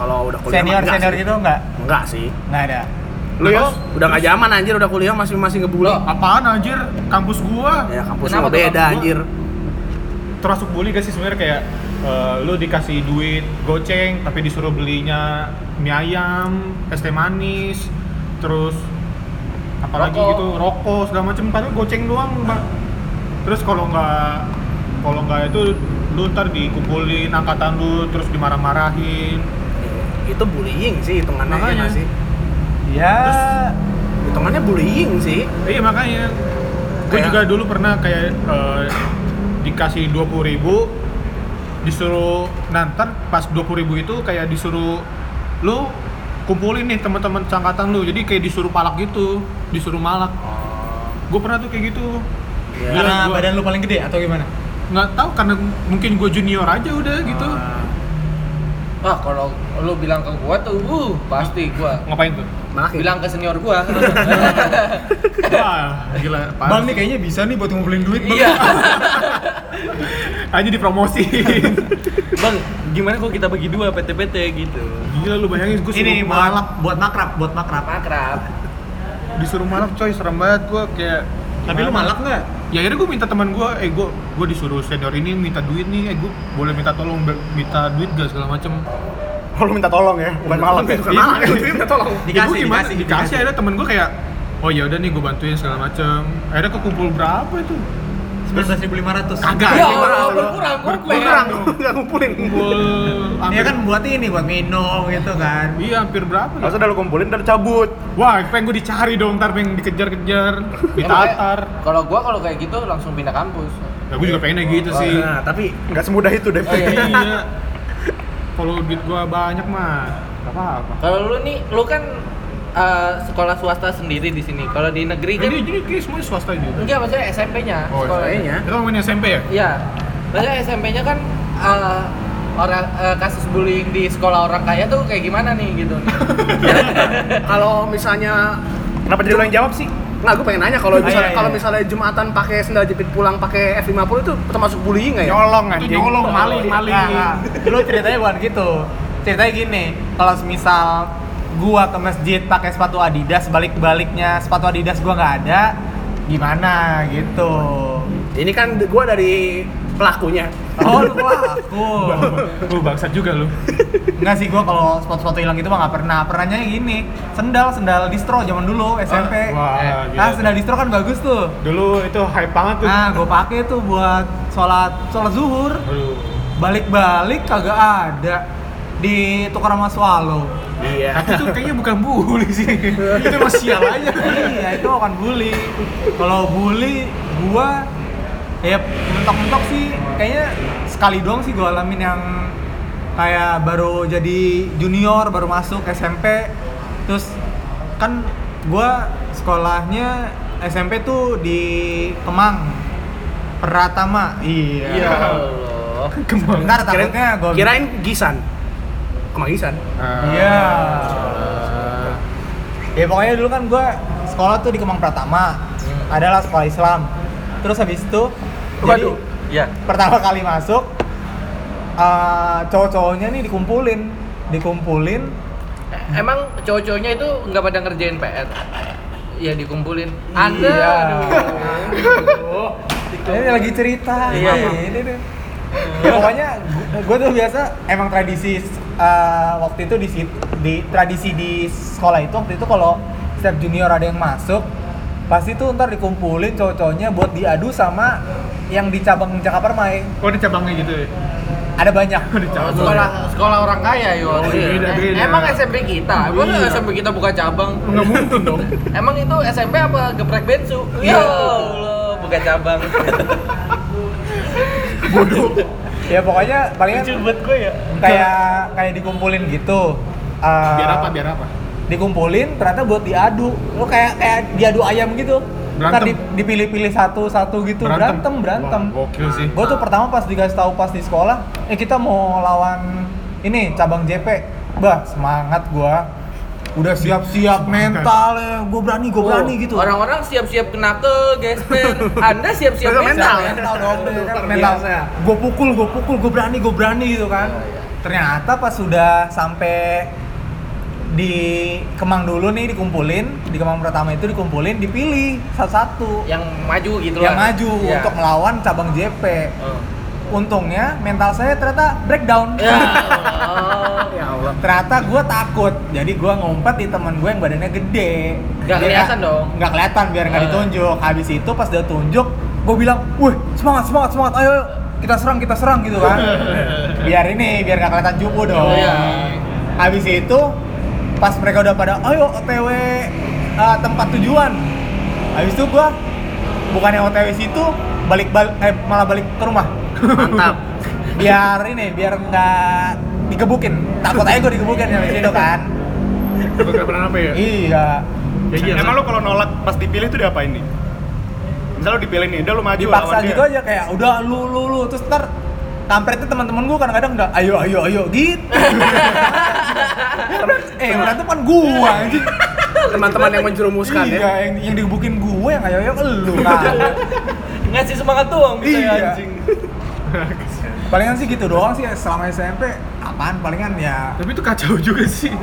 C: Kalau udah kuliah mah
E: Senior
C: enggak
E: senior
C: sih.
E: gitu enggak?
C: Enggak sih.
E: Enggak ada.
B: Lu ya?
C: Udah nggak zaman anjir udah kuliah masih masih ngebully.
A: Loh.
D: Apaan anjir? Kampus gua
C: Ya kampus
A: Kenapa
C: lo
A: tuh
C: beda
A: kampus lo?
C: anjir.
D: termasuk bully gak sih sebenarnya kayak eh, lu dikasih duit goceng tapi disuruh belinya mie ayam, es teh manis, terus apalagi
A: Rokok.
D: gitu rokok segala macem padahal goceng doang mbak. Terus kalau nggak kalau nggak itu lu ntar dikumpulin angkatan lu terus dimarah-marahin.
C: Iya, Itu bullying sih hitungannya ya
D: Makanya.
C: nggak sih.
E: Ya,
C: Hitungannya bullying sih.
D: Iya makanya.
C: Kayak-
D: Gue juga dulu pernah kayak eh, dikasih dua puluh ribu, disuruh nantar pas dua puluh ribu itu kayak disuruh lu kumpulin nih teman-teman sangkatan lu. Jadi kayak disuruh palak gitu, disuruh malak. Gue pernah tuh kayak gitu.
C: Ya.
D: Gila,
E: karena
D: gua-
E: badan lu paling gede atau gimana?
D: nggak tahu karena mungkin gue junior aja udah gitu.
A: wah Ah, kalau lu bilang ke gua tuh uh, pasti gua
D: Ngapain tuh?
C: Malah kayak-
A: bilang ke senior gua
D: Wah, gila. parah
E: Bang
D: sih.
E: nih kayaknya bisa nih buat ngumpulin duit. Bang.
A: iya
D: Aja dipromosin.
A: bang gimana
C: gitu.
A: kalau kita bagi dua PT-PT gitu
D: gila lu bayangin gue
E: Ini malam buat makrab, buat makrab.
A: akrab
D: disuruh malak coy serem banget gue kayak
E: Tapi lu
D: gimana?
E: malak nggak?
D: ya akhirnya gue minta teman gue eh gue gue disuruh senior ini minta duit nih eh gue boleh minta tolong be- minta duit gak segala macem
B: Oh lu minta tolong ya? Bukan malam ya?
D: Bukan malam, itu
B: minta tolong
D: Ya, gua
E: Dikasih,
D: gimana?
E: dikasih,
D: dikasih,
E: dikasih.
D: akhirnya temen gue kayak oh ya udah nih gue bantuin segala macem akhirnya kekumpul berapa itu Iya.
E: 19.500.
D: Kagak.
A: ya Allah
D: ini malah
A: berkurang
D: berkurang.
A: berkurang
B: Nggak ngumpulin
D: kumpul
E: Iya
D: hampir-
E: kan buat ini buat minum gitu kan.
D: iya hampir berapa ya?
B: Masa udah lu kumpulin udah cabut
D: wah pengen gue dicari dong ntar pengen dikejar-kejar ditatar
A: kalau gua kalau kayak gitu langsung pindah kampus
D: ya gue
E: Iya.
D: juga pengennya gitu
E: Oh,
D: sih
B: Nah tapi nggak semudah itu deh
A: Oh, iya.
D: iya kalau duit gue banyak mah gak apa-apa
A: kalau lu nih lu kan eh, sekolah swasta sendiri di sini kalau di negeri kan
D: Jadi jadi kayak semuanya swasta juga.
A: enggak maksudnya SMP-nya
D: Oh,
A: sekolahnya
C: SMP-nya.
D: Kita ngomongin SMP ya?
A: Iya. Maksudnya SMP-nya kan eh, orang eh, kasus bullying di sekolah orang kaya tuh kayak gimana nih gitu.
C: Kalau misalnya
B: Kenapa jadi lu yang jawab sih?
C: Nggak, gue pengen nanya kalau
E: Iya,
C: misalnya
E: iya,
C: kalau
E: iya.
C: misalnya Jumatan pakai sendal jepit pulang pakai F50 itu termasuk bullying nggak ya?
B: Nyolong
D: Itu
B: anjing
D: nyolong maling, maling.
E: Nah, nah, lu ceritanya bukan gitu. Ceritanya gini, kalau semisal gua ke masjid pakai sepatu Adidas, balik-baliknya sepatu Adidas gua nggak ada, gimana gitu.
C: Ini kan gua dari pelakunya.
E: Oh, lu aku.
D: Lu bangsat juga lu.
E: Enggak sih gua kalau sepatu-sepatu hilang gitu mah nggak pernah. Pernahnya gini, sendal sendal distro zaman dulu SMP.
D: Ah, Wah, gila.
E: Nah, sendal distro kan bagus tuh.
D: Dulu itu hype banget tuh.
E: Nah, gua pakai tuh buat sholat sholat zuhur.
D: Aduh.
E: Balik-balik kagak ada di tukar sama swallow.
C: Iya.
D: Tapi itu kayaknya bukan bully sih. itu masih sial aja.
E: iya, itu bukan bully. Kalau bully gua ya mentok-mentok sih kayaknya sekali doang sih gua alamin yang kayak baru jadi junior, baru masuk SMP. Terus kan gua sekolahnya SMP tuh di Kemang. Pratama. Iya.
A: Ya Allah.
D: Kembang.
E: Bentar takutnya gua
C: Kan Kirain Gisan. Kemang Gisan.
D: Ah.
E: Iya. Ya pokoknya dulu kan gue sekolah tuh di Kemang Pratama. Adalah sekolah Islam. Terus habis itu jadi
C: Waduh.
A: Iya.
E: pertama kali masuk eh, cowok-cowoknya nih dikumpulin, dikumpulin.
A: Emang cowok-cowoknya itu nggak pada ngerjain PR. Iya dikumpulin. Ada.
E: Iya.
A: aduh.
E: Ini lagi cerita.
A: Iya.
E: Ini deh. ya pokoknya gue tuh biasa emang tradisi eh, waktu itu di sit- di tradisi di sekolah itu waktu itu kalau setiap junior ada yang masuk pasti tuh ntar dikumpulin cowok-cowoknya buat diadu sama yang di cabang Cakap Permai
D: Oh, di cabangnya gitu ya?
E: ada banyak
A: sekolah sekolah orang kaya yo. Iya.
D: Beda, beda.
A: Emang SMP kita, emang
D: Iya.
A: SMP kita bukan cabang.
D: Nggak mungkin dong.
A: Emang itu SMP apa geprek bensu? Ya Allah, bukan cabang.
E: ya pokoknya palingan
A: buat gue ya.
E: kayak kayak dikumpulin gitu Eh,
D: Biar apa? Biar apa?
E: dikumpulin ternyata buat diadu lo kayak kayak diadu ayam gitu Ntar
D: Berantem.
E: di- dipilih-pilih satu-satu gitu berantem berantem,
D: Wah, gokil sih.
E: gue tuh pertama pas dikasih tahu pas di sekolah eh kita mau lawan ini cabang JP bah semangat gua udah siap-siap mental ya gue berani gue
A: Oh,
E: berani gitu
A: Orang-orang siap-siap kena ke gesper. Anda siap-siap
C: Mental,
A: mental.
E: mental kan? dong
D: Tukar
E: mental
D: biasa.
E: gue pukul gue pukul gue berani gue berani gitu kan ternyata pas sudah sampai di Kemang dulu nih dikumpulin di Kemang pertama itu dikumpulin dipilih satu-satu
A: Yang maju gitu
E: yang
A: lah.
E: maju
A: Iya.
E: untuk melawan cabang JP
A: Oh.
E: untungnya mental saya ternyata breakdown
A: Ya Allah.
C: Ya Allah.
E: ternyata gue takut jadi gue ngumpet di teman gue yang badannya gede
A: Nggak
E: Biar
A: kelihatan
E: nggak-
A: dong.
E: nggak kelihatan biar nggak
A: Eh.
E: ditunjuk habis itu pas dia tunjuk gue bilang wih semangat semangat semangat ayo, ayo kita serang kita serang gitu kan biar ini biar nggak kelihatan cupu
A: Oh,
E: dong
A: iya.
E: habis itu pas mereka udah pada ayo otw eh, tempat tujuan habis itu gue bukannya otw situ balik balik eh, malah balik ke rumah
C: Mantap.
E: biar ini biar nggak digebukin takut aja gue digebukin sama situ kan
D: Kebetulan apa ya?
E: iya
D: Ya iya.
B: Emang lo kalau nolak pas dipilih tuh diapain nih? Misal lo dipilih nih, udah lo maju
E: dipaksa
B: lawan dia.
E: gitu aja kayak udah lu lu lu terus ntar kampretnya teman-teman gue kadang-kadang udah ayo ayo ayo gitu eh yang berantem kan gua anjing
C: Teman-teman yang menjerumuskan
E: iya
C: ya.
E: yang, yang digebukin gua yang ayo ayo elu kan
A: Ngasih semangat doang bisa ya
E: Iya.
A: anjing.
E: palingan sih gitu doang sih selama SMP apaan palingan ya
D: Tapi itu kacau juga sih.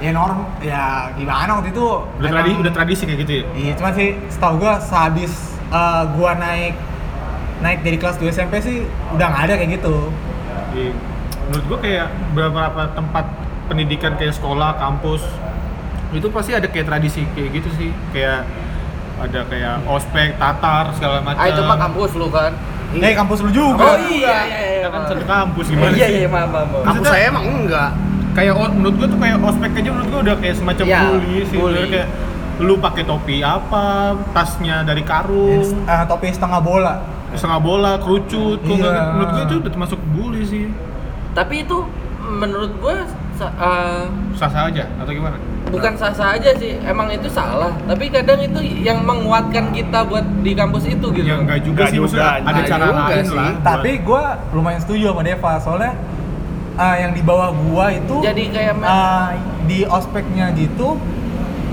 E: ya norm ya gimana waktu itu
D: Udah
E: memang-
D: tradisi, udah tradisi kayak gitu ya.
E: Iya, cuman sih setahu gua sehabis eh, gua naik naik dari kelas 2 SMP sih udah nggak ada kayak gitu.
D: Di- menurut gua kayak beberapa tempat pendidikan kayak sekolah, kampus itu pasti ada kayak tradisi kayak gitu sih. Kayak ada kayak ospek, tatar segala
A: Ah
D: macam.
A: itu mah kampus lu kan.
E: Eh, kampus lu
A: Oh
E: juga.
A: iya iya iya.
D: Kita kan satu
A: maaf.
D: kampus gimana
A: Iya
D: sih?
A: iya maaf maaf. maaf.
C: Kampus saya emang enggak.
D: Kayak o- menurut gua tuh kayak ospek aja menurut gua udah kayak semacam
A: Iya,
D: bully sih.
A: bully.
D: Bener Kayak lu pakai topi apa, tasnya dari
E: Eh,
D: karung,
A: Iya,
E: eh, topi setengah bola.
D: setengah bola, kerucut. Kok
E: Iya.
D: nggak- Menurut gua itu udah termasuk bully sih.
A: Tapi itu menurut ah, gue
D: Sah-sah aja atau gimana?
A: bukan sah-sah aja sih. Emang itu salah. Tapi kadang itu yang menguatkan kita buat di kampus itu gitu.
D: Ya enggak juga
B: Nggak
D: sih,
B: juga,
D: maksudnya ada
C: nggak
D: cara
C: juga
D: lain
C: sih.
D: lah. buat-
E: Tapi gua lumayan setuju sama Deva soalnya eh, yang di bawah gua itu
A: Jadi kayak men-
E: eh, di ospeknya gitu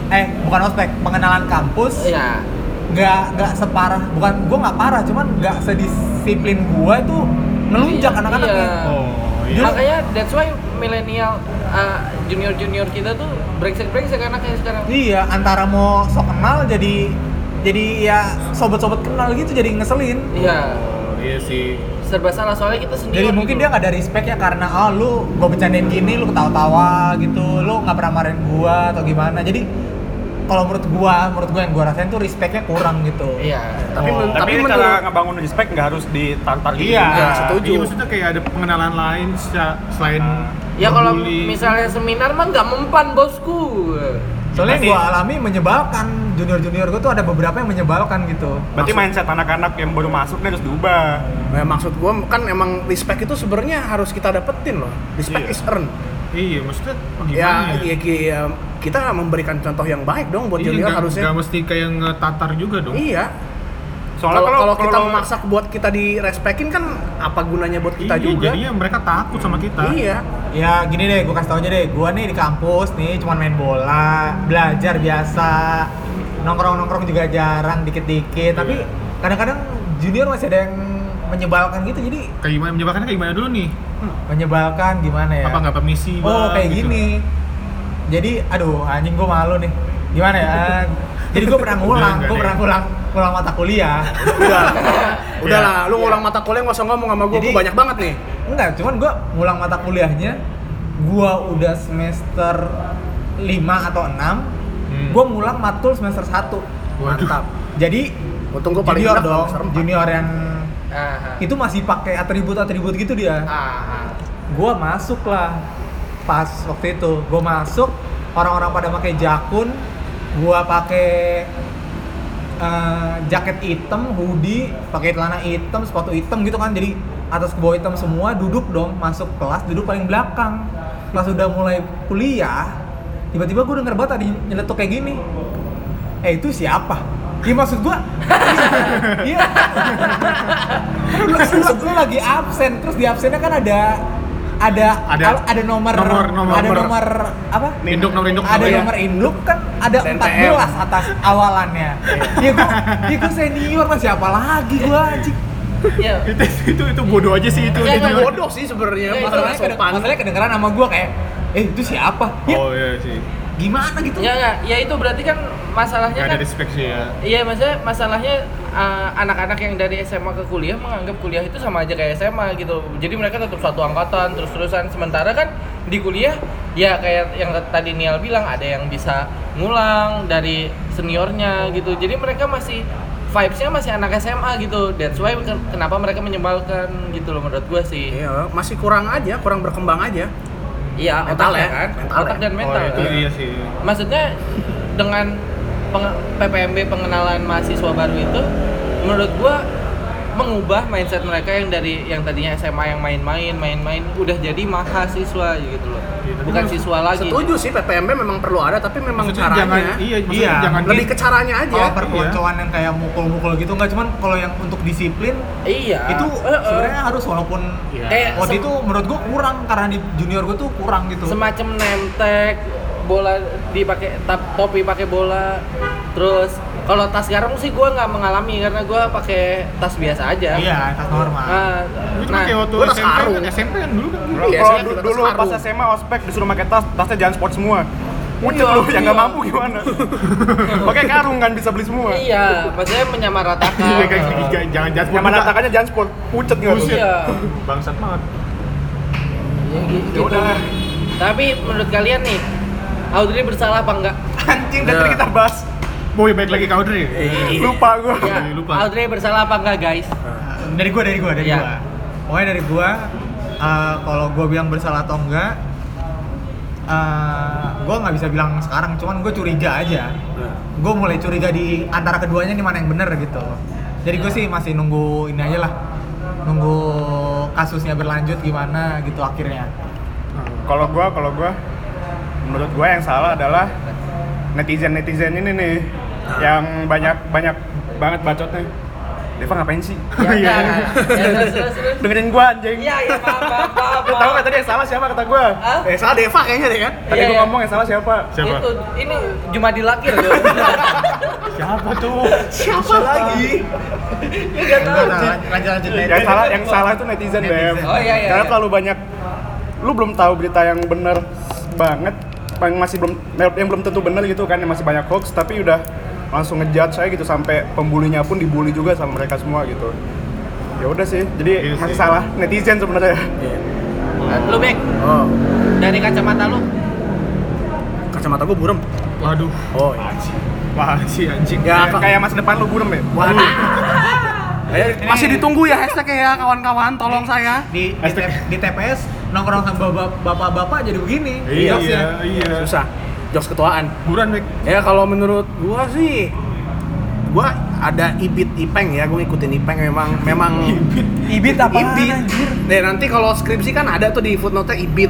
E: eh bukan ospek, pengenalan kampus.
A: Iya.
E: nggak nggak separah bukan gua nggak parah cuman nggak sedisiplin gua itu melunjak ya.
A: Iya,
E: anak-anaknya
A: iya.
D: Oh, iya.
A: Makanya that's why milenial uh, junior-junior kita tuh brengsek-brengsek anaknya sekarang.
E: Iya, antara mau sok kenal jadi jadi ya sobat-sobat kenal gitu jadi ngeselin.
A: Iya.
D: Oh, iya sih.
A: Serba salah soalnya kita sendiri. gitu.
E: Jadi mungkin dia nggak ada respect ya karena ah lu gue bercandain gini lu ketawa-tawa gitu, lu nggak pernah marahin gua atau gimana. Jadi kalau menurut gua, menurut gua yang gua rasain tuh respectnya kurang gitu.
A: Iya.
B: Tapi, men-
D: Oh.
B: tapi, cara
C: Tapi menurut-
B: ngebangun respect nggak harus ditantar gitu.
D: Iya,
B: juga.
C: setuju.
D: Iya, maksudnya kayak ada pengenalan lain se- selain
A: Ya kalau
D: ngebully.
A: misalnya seminar mah nggak mempan bosku.
E: Soalnya
D: Pasti.
E: yang gua alami menyebalkan junior-junior gua tuh ada beberapa yang menyebalkan gitu.
B: Berarti mindset anak-anak yang baru masuk nih harus diubah.
C: Ya, maksud gua kan emang respect itu sebenarnya harus kita dapetin loh. Respect
B: Iya.
C: is earned.
D: Iya, maksudnya
C: Ya,
D: gimana
C: ya, ya, kita memberikan contoh yang baik dong buat
D: Iya,
C: junior
D: nggak-
C: harusnya.
D: nggak mesti kayak ngetatar juga dong.
C: Iya.
B: Soalnya
C: Kalau kalau kita
B: lo-
C: memaksa buat kita direspekin kan apa gunanya buat kita
D: Iya,
C: juga?
D: Jadinya mereka takut sama kita.
C: Iya.
E: Ya gini deh, gue kasih tau aja deh. Gue nih di kampus nih, cuman main bola, belajar biasa, nongkrong-nongkrong juga jarang, dikit-dikit. Tapi kadang-kadang junior masih ada yang menyebalkan gitu, jadi
D: Kayak gimana menyebalkannya kayak gimana dulu nih?
E: menyebalkan gimana
C: Iya.
E: ya?
D: Apa nggak permisi?
E: Oh
D: Bang,
E: kayak
D: gitu.
E: gini. Jadi, aduh anjing gue malu nih. Gimana ya? jadi gue pernah ngulang
D: Enggak,
E: gue
D: enggak,
E: pernah ngulang ngulang mata kuliah
C: Udah. Udah lah, lu
D: Iya.
C: ngulang mata kuliah nggak usah ngomong sama gue,
E: Jadi-
C: gue banyak banget nih.
E: enggak cuman gue ngulang mata kuliahnya gue udah semester 5 atau 6
D: Hmm.
E: gue ngulang matul semester 1
C: Mantap.
E: jadi
C: Untung gue paling
E: junior
C: enak
E: dong
C: semester empat.
E: junior yang
A: Ah,
E: itu masih pakai atribut-atribut gitu dia
C: Ah,
E: gua masuk lah pas waktu itu gua masuk orang-orang pada pakai jakun gua pakai eh, jaket hitam hoodie pakai celana hitam sepatu hitam gitu kan jadi atas ke bawah hitam semua duduk dong masuk kelas duduk paling belakang pas udah mulai kuliah tiba-tiba gua denger banget ada yang nyeletuk kayak gini eh itu siapa Iya maksud gua, iya, Kan lu- lu, lu lagi absen, terus di absennya kan ada ada
D: Ada-
E: al- ada nomor,
D: nomor, nomor,
E: ada
D: nomor.
E: nomor apa?
D: Induk, nomor induk,
E: Ada
D: nomor ya.
E: nomor induk kan ada
C: SNPM.
E: 14 atas awalannya. ya gua, ya gua senior lah siapa lagi gua anjing.
A: Iya.
D: itu itu itu bodoh aja sih itu.
A: Iya,
D: itu
A: iya,
D: junior.
C: bodoh sih
A: Iya,
C: sebenarnya masalah
E: Masalahnya, keden-
C: sopan.
E: masalahnya kedengeran sama gua kayak eh itu siapa? Ya
D: Oh iya sih.
E: gimana gitu?
A: Ya enggak, ya itu berarti kan masalahnya
D: Gak ada
A: kan
D: respect sih ya.
A: Iya, maksudnya masalahnya uh, anak-anak yang dari SMA ke kuliah menganggap kuliah itu sama aja kayak SMA gitu. Jadi mereka tetap satu angkatan terus-terusan. Sementara kan di kuliah ya kayak yang tadi Nial bilang ada yang bisa ngulang dari seniornya gitu. Jadi mereka masih vibes-nya masih anak SMA gitu. That's why ken- kenapa mereka menyebalkan gitu loh menurut gua sih.
C: Iya, masih kurang aja, kurang berkembang aja.
A: Iya,
C: Mental
A: otaknya
C: ya,
A: kan,
C: mental
A: otak
C: ya.
A: dan mental.
D: oh itu
A: kan.
D: iya sih.
A: maksudnya dengan peng- PPMB pengenalan mahasiswa baru itu menurut gua mengubah mindset mereka yang dari yang tadinya SMA yang main-main main-main udah jadi mahasiswa gitu loh bukan siswa lagi
C: Setuju sih PPMB memang perlu ada, tapi memang
D: Maksudnya jangan
C: caranya.
D: iya, maksudnya
E: Iya,
D: jangan
C: Lebih ke caranya
A: ya.
E: Kalau
C: aja.
E: perpeloncoan yang kayak mukul-mukul gitu enggak cuman kalau yang untuk disiplin
A: iya
E: itu
A: Eh, eh.
E: sebenarnya harus walaupun
D: Iya.
A: Kayak
E: waktu
A: sem-
E: itu menurut gua kurang karena di junior gua tuh kurang gitu.
A: semacam nemtek bola dipakai tap- topi pakai bola terus kalau tas garong sih gua nggak mengalami karena gua pakai tas biasa aja
E: Iya, tas normal.
A: Ah,
D: Itu kan kayak waktu
C: Nah, gua tas
D: SMP kan,
C: karung.
D: SMP kan dulu kan.
B: Bro,
C: Iya,
B: kalau
C: saya
B: du-
C: juga
B: dulu
C: terharu.
B: pas SMA ospek disuruh pakai tas, tasnya jangan sport semua. Pucet
A: Iya,
B: lu yang nggak
A: iya.
B: mampu gimana? pakai karung kan bisa beli semua.
A: iya maksudnya menyamaratakan
D: Iya kan jangan jangan jangan
B: Yang mana takannya jangan sport, pucet nggak lu?
A: Iya.
D: bangsat banget.
A: Ya, gitu.
B: Ya udah.
A: Tapi menurut kalian nih, Audrey bersalah apa enggak?
B: Anjing dan
C: Iya.
B: tadi kita bahas.
D: Boy baik lagi ke Audrey.
B: Lupa gua.
A: Ya,
D: lupa.
A: Audrey bersalah apa enggak, guys?
E: Nah, dari gua dari gua dari
A: Iya.
E: gua pokoknya dari gua eh, kalau gua bilang bersalah atau enggak eh, gua nggak bisa bilang sekarang cuman gua curiga aja gua mulai curiga di antara keduanya nih mana yang bener gitu jadi gua sih masih nunggu ini aja lah nunggu kasusnya berlanjut gimana gitu akhirnya
B: Hmm, Kalau gua, kalau gua menurut gua yang salah adalah netizen-netizen ini nih yang banyak banyak banget bacotnya. Deva ngapain sih?
A: Ya,
B: Iya.
A: enggak, enggak. Ya, terus, terus, terus.
B: Dengerin gua anjing.
A: Iya, ya, maaf, maaf, maaf,
B: Lu tahu
A: maaf.
B: kan tadi yang salah siapa kata gua?
A: Hah?
C: Eh, salah Deva kayaknya deh kan.
B: ya. Tadi
A: Iya,
B: gua
A: iya.
B: ngomong yang salah siapa?
D: Siapa?
A: Itu, ini cuma dilakir loh.
D: Siapa tuh?
C: Siapa lagi?
A: Enggak tahu.
E: Nah, lanjut lanjut
B: Yang salah yang salah itu netizen,
E: Netizen.
B: Bem.
A: Oh, iya, iya,
B: Karena
A: iya.
B: terlalu banyak lu belum tahu berita yang bener banget yang masih belum yang belum tentu bener gitu kan yang masih banyak hoax tapi udah langsung ngejudge saya gitu sampai pembulinya pun dibully juga sama mereka semua gitu ya udah sih jadi
D: Iya
B: masih
D: sih.
B: salah netizen sebenarnya
A: Lu Bek,
C: Iya. Oh,
A: dari kacamata lu.
C: kacamata gue buram.
D: Waduh.
C: Oh, iya.
D: Wah sih anjing.
C: Ya,
B: Kayak- kayak masa depan lu burem ya
C: Waduh. Masih ditunggu ya hashtag ya kawan-kawan, tolong saya.
E: di di, T- di TPS nongkrong sama bapak- bapak-bapak jadi begini
D: Iya,
E: jokesnya.
D: iya, iya.
C: Susah. Jokes ketuaan.
D: Buruan, Mek.
C: Ya kalau menurut gua sih gua ada ibit ipeng ya, gua ngikutin ipeng memang memang
E: ibit apa
C: ibit. Nah, nanti kalau skripsi kan ada tuh di footnote ibit.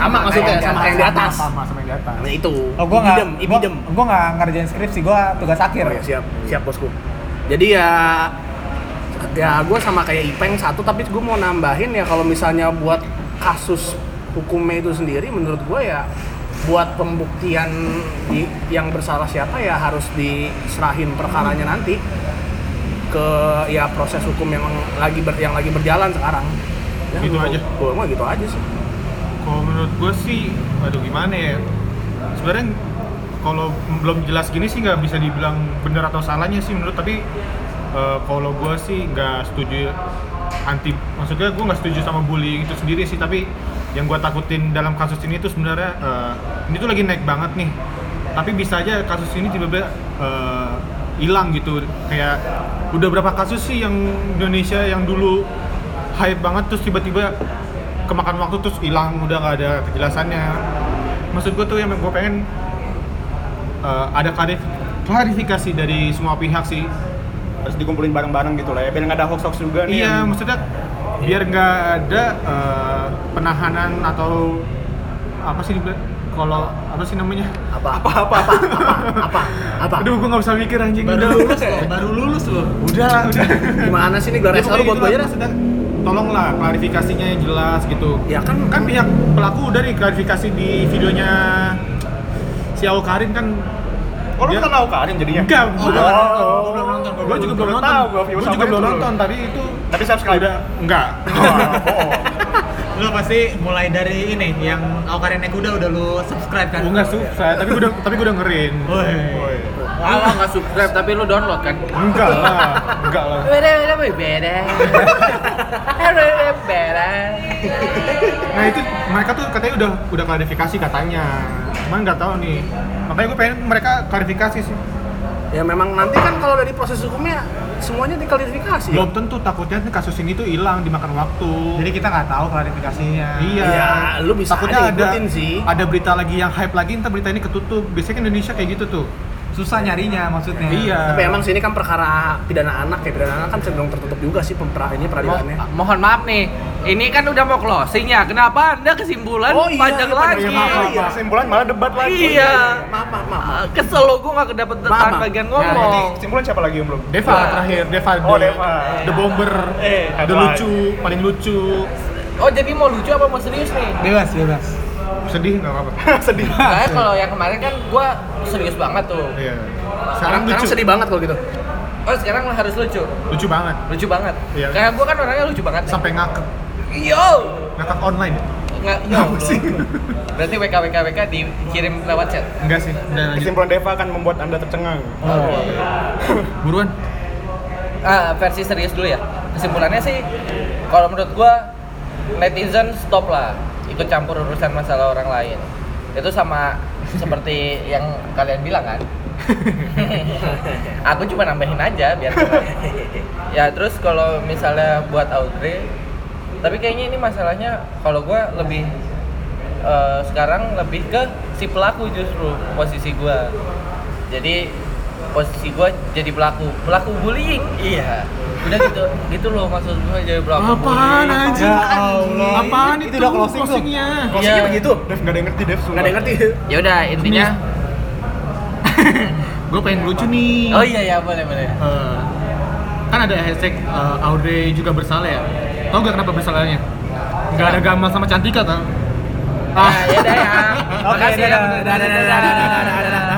C: Sama maksudnya sama yang di atas.
D: Sama sama yang di atas.
C: Nah, itu.
E: Oh, gua nggak,
C: ibidem, ibidem.
E: Gua, gua nggak ngerjain skripsi, gua tugas akhir.
C: Oh ya, siap, siap bosku. Jadi ya ya gue sama kayak Ipeng satu tapi gue mau nambahin ya kalau misalnya buat kasus hukumnya itu sendiri menurut gue ya buat pembuktian di- yang bersalah siapa ya harus diserahin perkaranya nanti ke ya proses hukum yang lagi ber- yang lagi berjalan sekarang. Ya,
D: Gitu
C: gua-
D: aja.
C: Gua mah gitu aja sih.
D: Kalau menurut gue sih, aduh gimana ya? Sebenarnya kalau belum jelas gini sih nggak bisa dibilang benar atau salahnya sih menurut tapi eh, kalau gue sih nggak setuju anti maksudnya gue nggak setuju sama bullying itu sendiri sih tapi yang gue takutin dalam kasus ini tuh sebenarnya eh, ini tuh lagi naik banget nih tapi bisa aja kasus ini tiba-tiba eh, hilang gitu kayak udah berapa kasus sih yang Indonesia yang dulu hype banget terus tiba-tiba kemakan waktu terus hilang udah nggak ada kejelasannya maksud gue tuh yang gue pengen eh, ada klarif- klarifikasi dari semua pihak sih
B: harus dikumpulin bareng-bareng gitu lah ya biar nggak ada hoax hoax juga nih
D: Iya,
B: yang-
D: maksudnya biar nggak ada eh, penahanan atau apa sih dibilang- kalau apa sih namanya?
C: apa apa apa apa apa apa, apa?
D: Aduh, gua nggak bisa mikir anjing.
E: baru
D: Udah,
E: lulus loh baru lulus loh
D: udah, udah.
C: gimana sih ini gelar
D: Ya,
C: SL
D: pokoknya
C: lu buat
D: gitu lah,
C: bayar
D: maksudnya, tolonglah klarifikasinya yang jelas gitu.
C: ya kan
D: Kan pihak pelaku udah nih klarifikasi di videonya si Aul Karin kan
B: oh lu
D: Dia-
B: kenal Karim jadinya
D: Iya. enggak. Gua belum
B: Oh.
D: nonton. Gua belum nonton. Gua juga belum
B: Belum
D: nonton.
B: tahu, gua view
D: Gua juga
B: sama
D: belum
B: itu.
D: nonton tadi itu
B: tapi subscribe
D: udah enggak.
E: lu pasti mulai dari ini yang Aukarin Naik Kuda udah lu subscribe kan
D: Gua Oh, enggak subscribe, tapi gua udah tapi gua dengerin.
E: Woi.
B: Oh, iya.
D: Woi.
A: Kalau nggak subscribe tapi lu download kan?
D: Enggak lah, enggak lah.
A: Beda beda beda. Beda beda.
D: Nah itu mereka tuh katanya udah udah klarifikasi katanya. Cuman nggak tahu nih. Makanya gue pengen mereka klarifikasi sih.
C: ya memang nanti kan kalau dari proses hukumnya semuanya ya. diklarifikasi
D: Belum tentu takutnya nih kasus ini tuh hilang dimakan waktu.
E: jadi kita nggak tahu klarifikasinya
D: iya.
C: Iya, lu bisa aja
D: takutnya ada
C: ikutin sih.
D: ada berita lagi yang hype lagi, entar berita ini ketutup. Biasanya kan Indonesia kayak gitu tuh.
E: susah nyarinya maksudnya
D: Iya.
C: tapi emang sini kan perkara pidana anak ya pidana anak kan cenderung tertutup juga sih pempera ini peradilannya
A: Mohon maaf nih, ini kan udah mau closing ya. Kenapa anda kesimpulan
C: Oh, iya,
A: panjang
C: iya,
A: lagi?
C: iya, maaf, maaf,
B: Iya. kesimpulan malah debat lagi
A: Iya.
C: maaf maaf maaf
A: Ah, Kesel lo gue nggak kedapetan
C: Maaf, maaf.
A: bagian
B: Nah, berarti
A: ngomong.
B: kesimpulan siapa lagi yang belum
D: Deva
A: Wah.
D: terakhir, Deva
B: Oh,
D: the-
B: Deva.
D: The Bomber,
B: Eh,
D: the
B: headline.
D: lucu, paling lucu.
A: Oh jadi mau lucu apa mau serius nih?
E: bebas bebas
D: Sedih nggak apa-apa.
B: sedih
A: Soalnya kalau yang kemarin kan gue serius banget tuh.
D: Iya.
C: sekarang,
D: Sekarang
C: sekarang
D: lucu.
C: sedih banget kalau gitu
A: Oh sekarang harus lucu,
D: Lucu banget.
A: lucu banget.
D: Iya.
A: Karena gue kan orangnya lucu banget. nih.
D: Sampai ngakak,
A: Yo,
D: ngakak online.
A: nggak ya Allah. Berarti WK WK WK dikirim lewat chat.
D: Enggak sih, udah lanjut.
B: kesimpulan Deva akan membuat anda tercengang
A: Iya.
C: Oh, iya.
D: Buruan.
A: Ah, versi serius dulu ya. Kesimpulannya sih, kalau menurut gua netizen stop lah ikut campur urusan masalah orang lain. Itu sama seperti yang kalian bilang kan. Aku cuma nambahin aja biar ya terus kalau misalnya buat Audrey tapi kayaknya ini masalahnya kalau gua lebih eh, sekarang lebih ke si pelaku justru posisi gua jadi posisi gua jadi pelaku pelaku bullying iya udah gitu gitu loh maksud gua jadi pelaku
D: Apaan
A: bullying.
D: anjing?
E: Ya Allah.
D: Apaan itu?
E: Itu udah closing tuh.
D: closingnya.
C: closingnya
A: Iya.
C: begitu
B: Dev nggak ada yang ngerti Dev
C: nggak ada yang ngerti
A: ya udah intinya
D: Gue pengen lucu nih.
A: oh iya ya boleh boleh
D: Eh, kan ada hashtag eh, Audrey juga bersalah ya. Tau gak kenapa bersalahnya? Gak ada gamal sama Cantika tau.
C: Ah.
A: nah, ya udah ya
E: Oke,
A: makasih ya
E: dadah, dadah, dadah, dadah, dadah, dadah.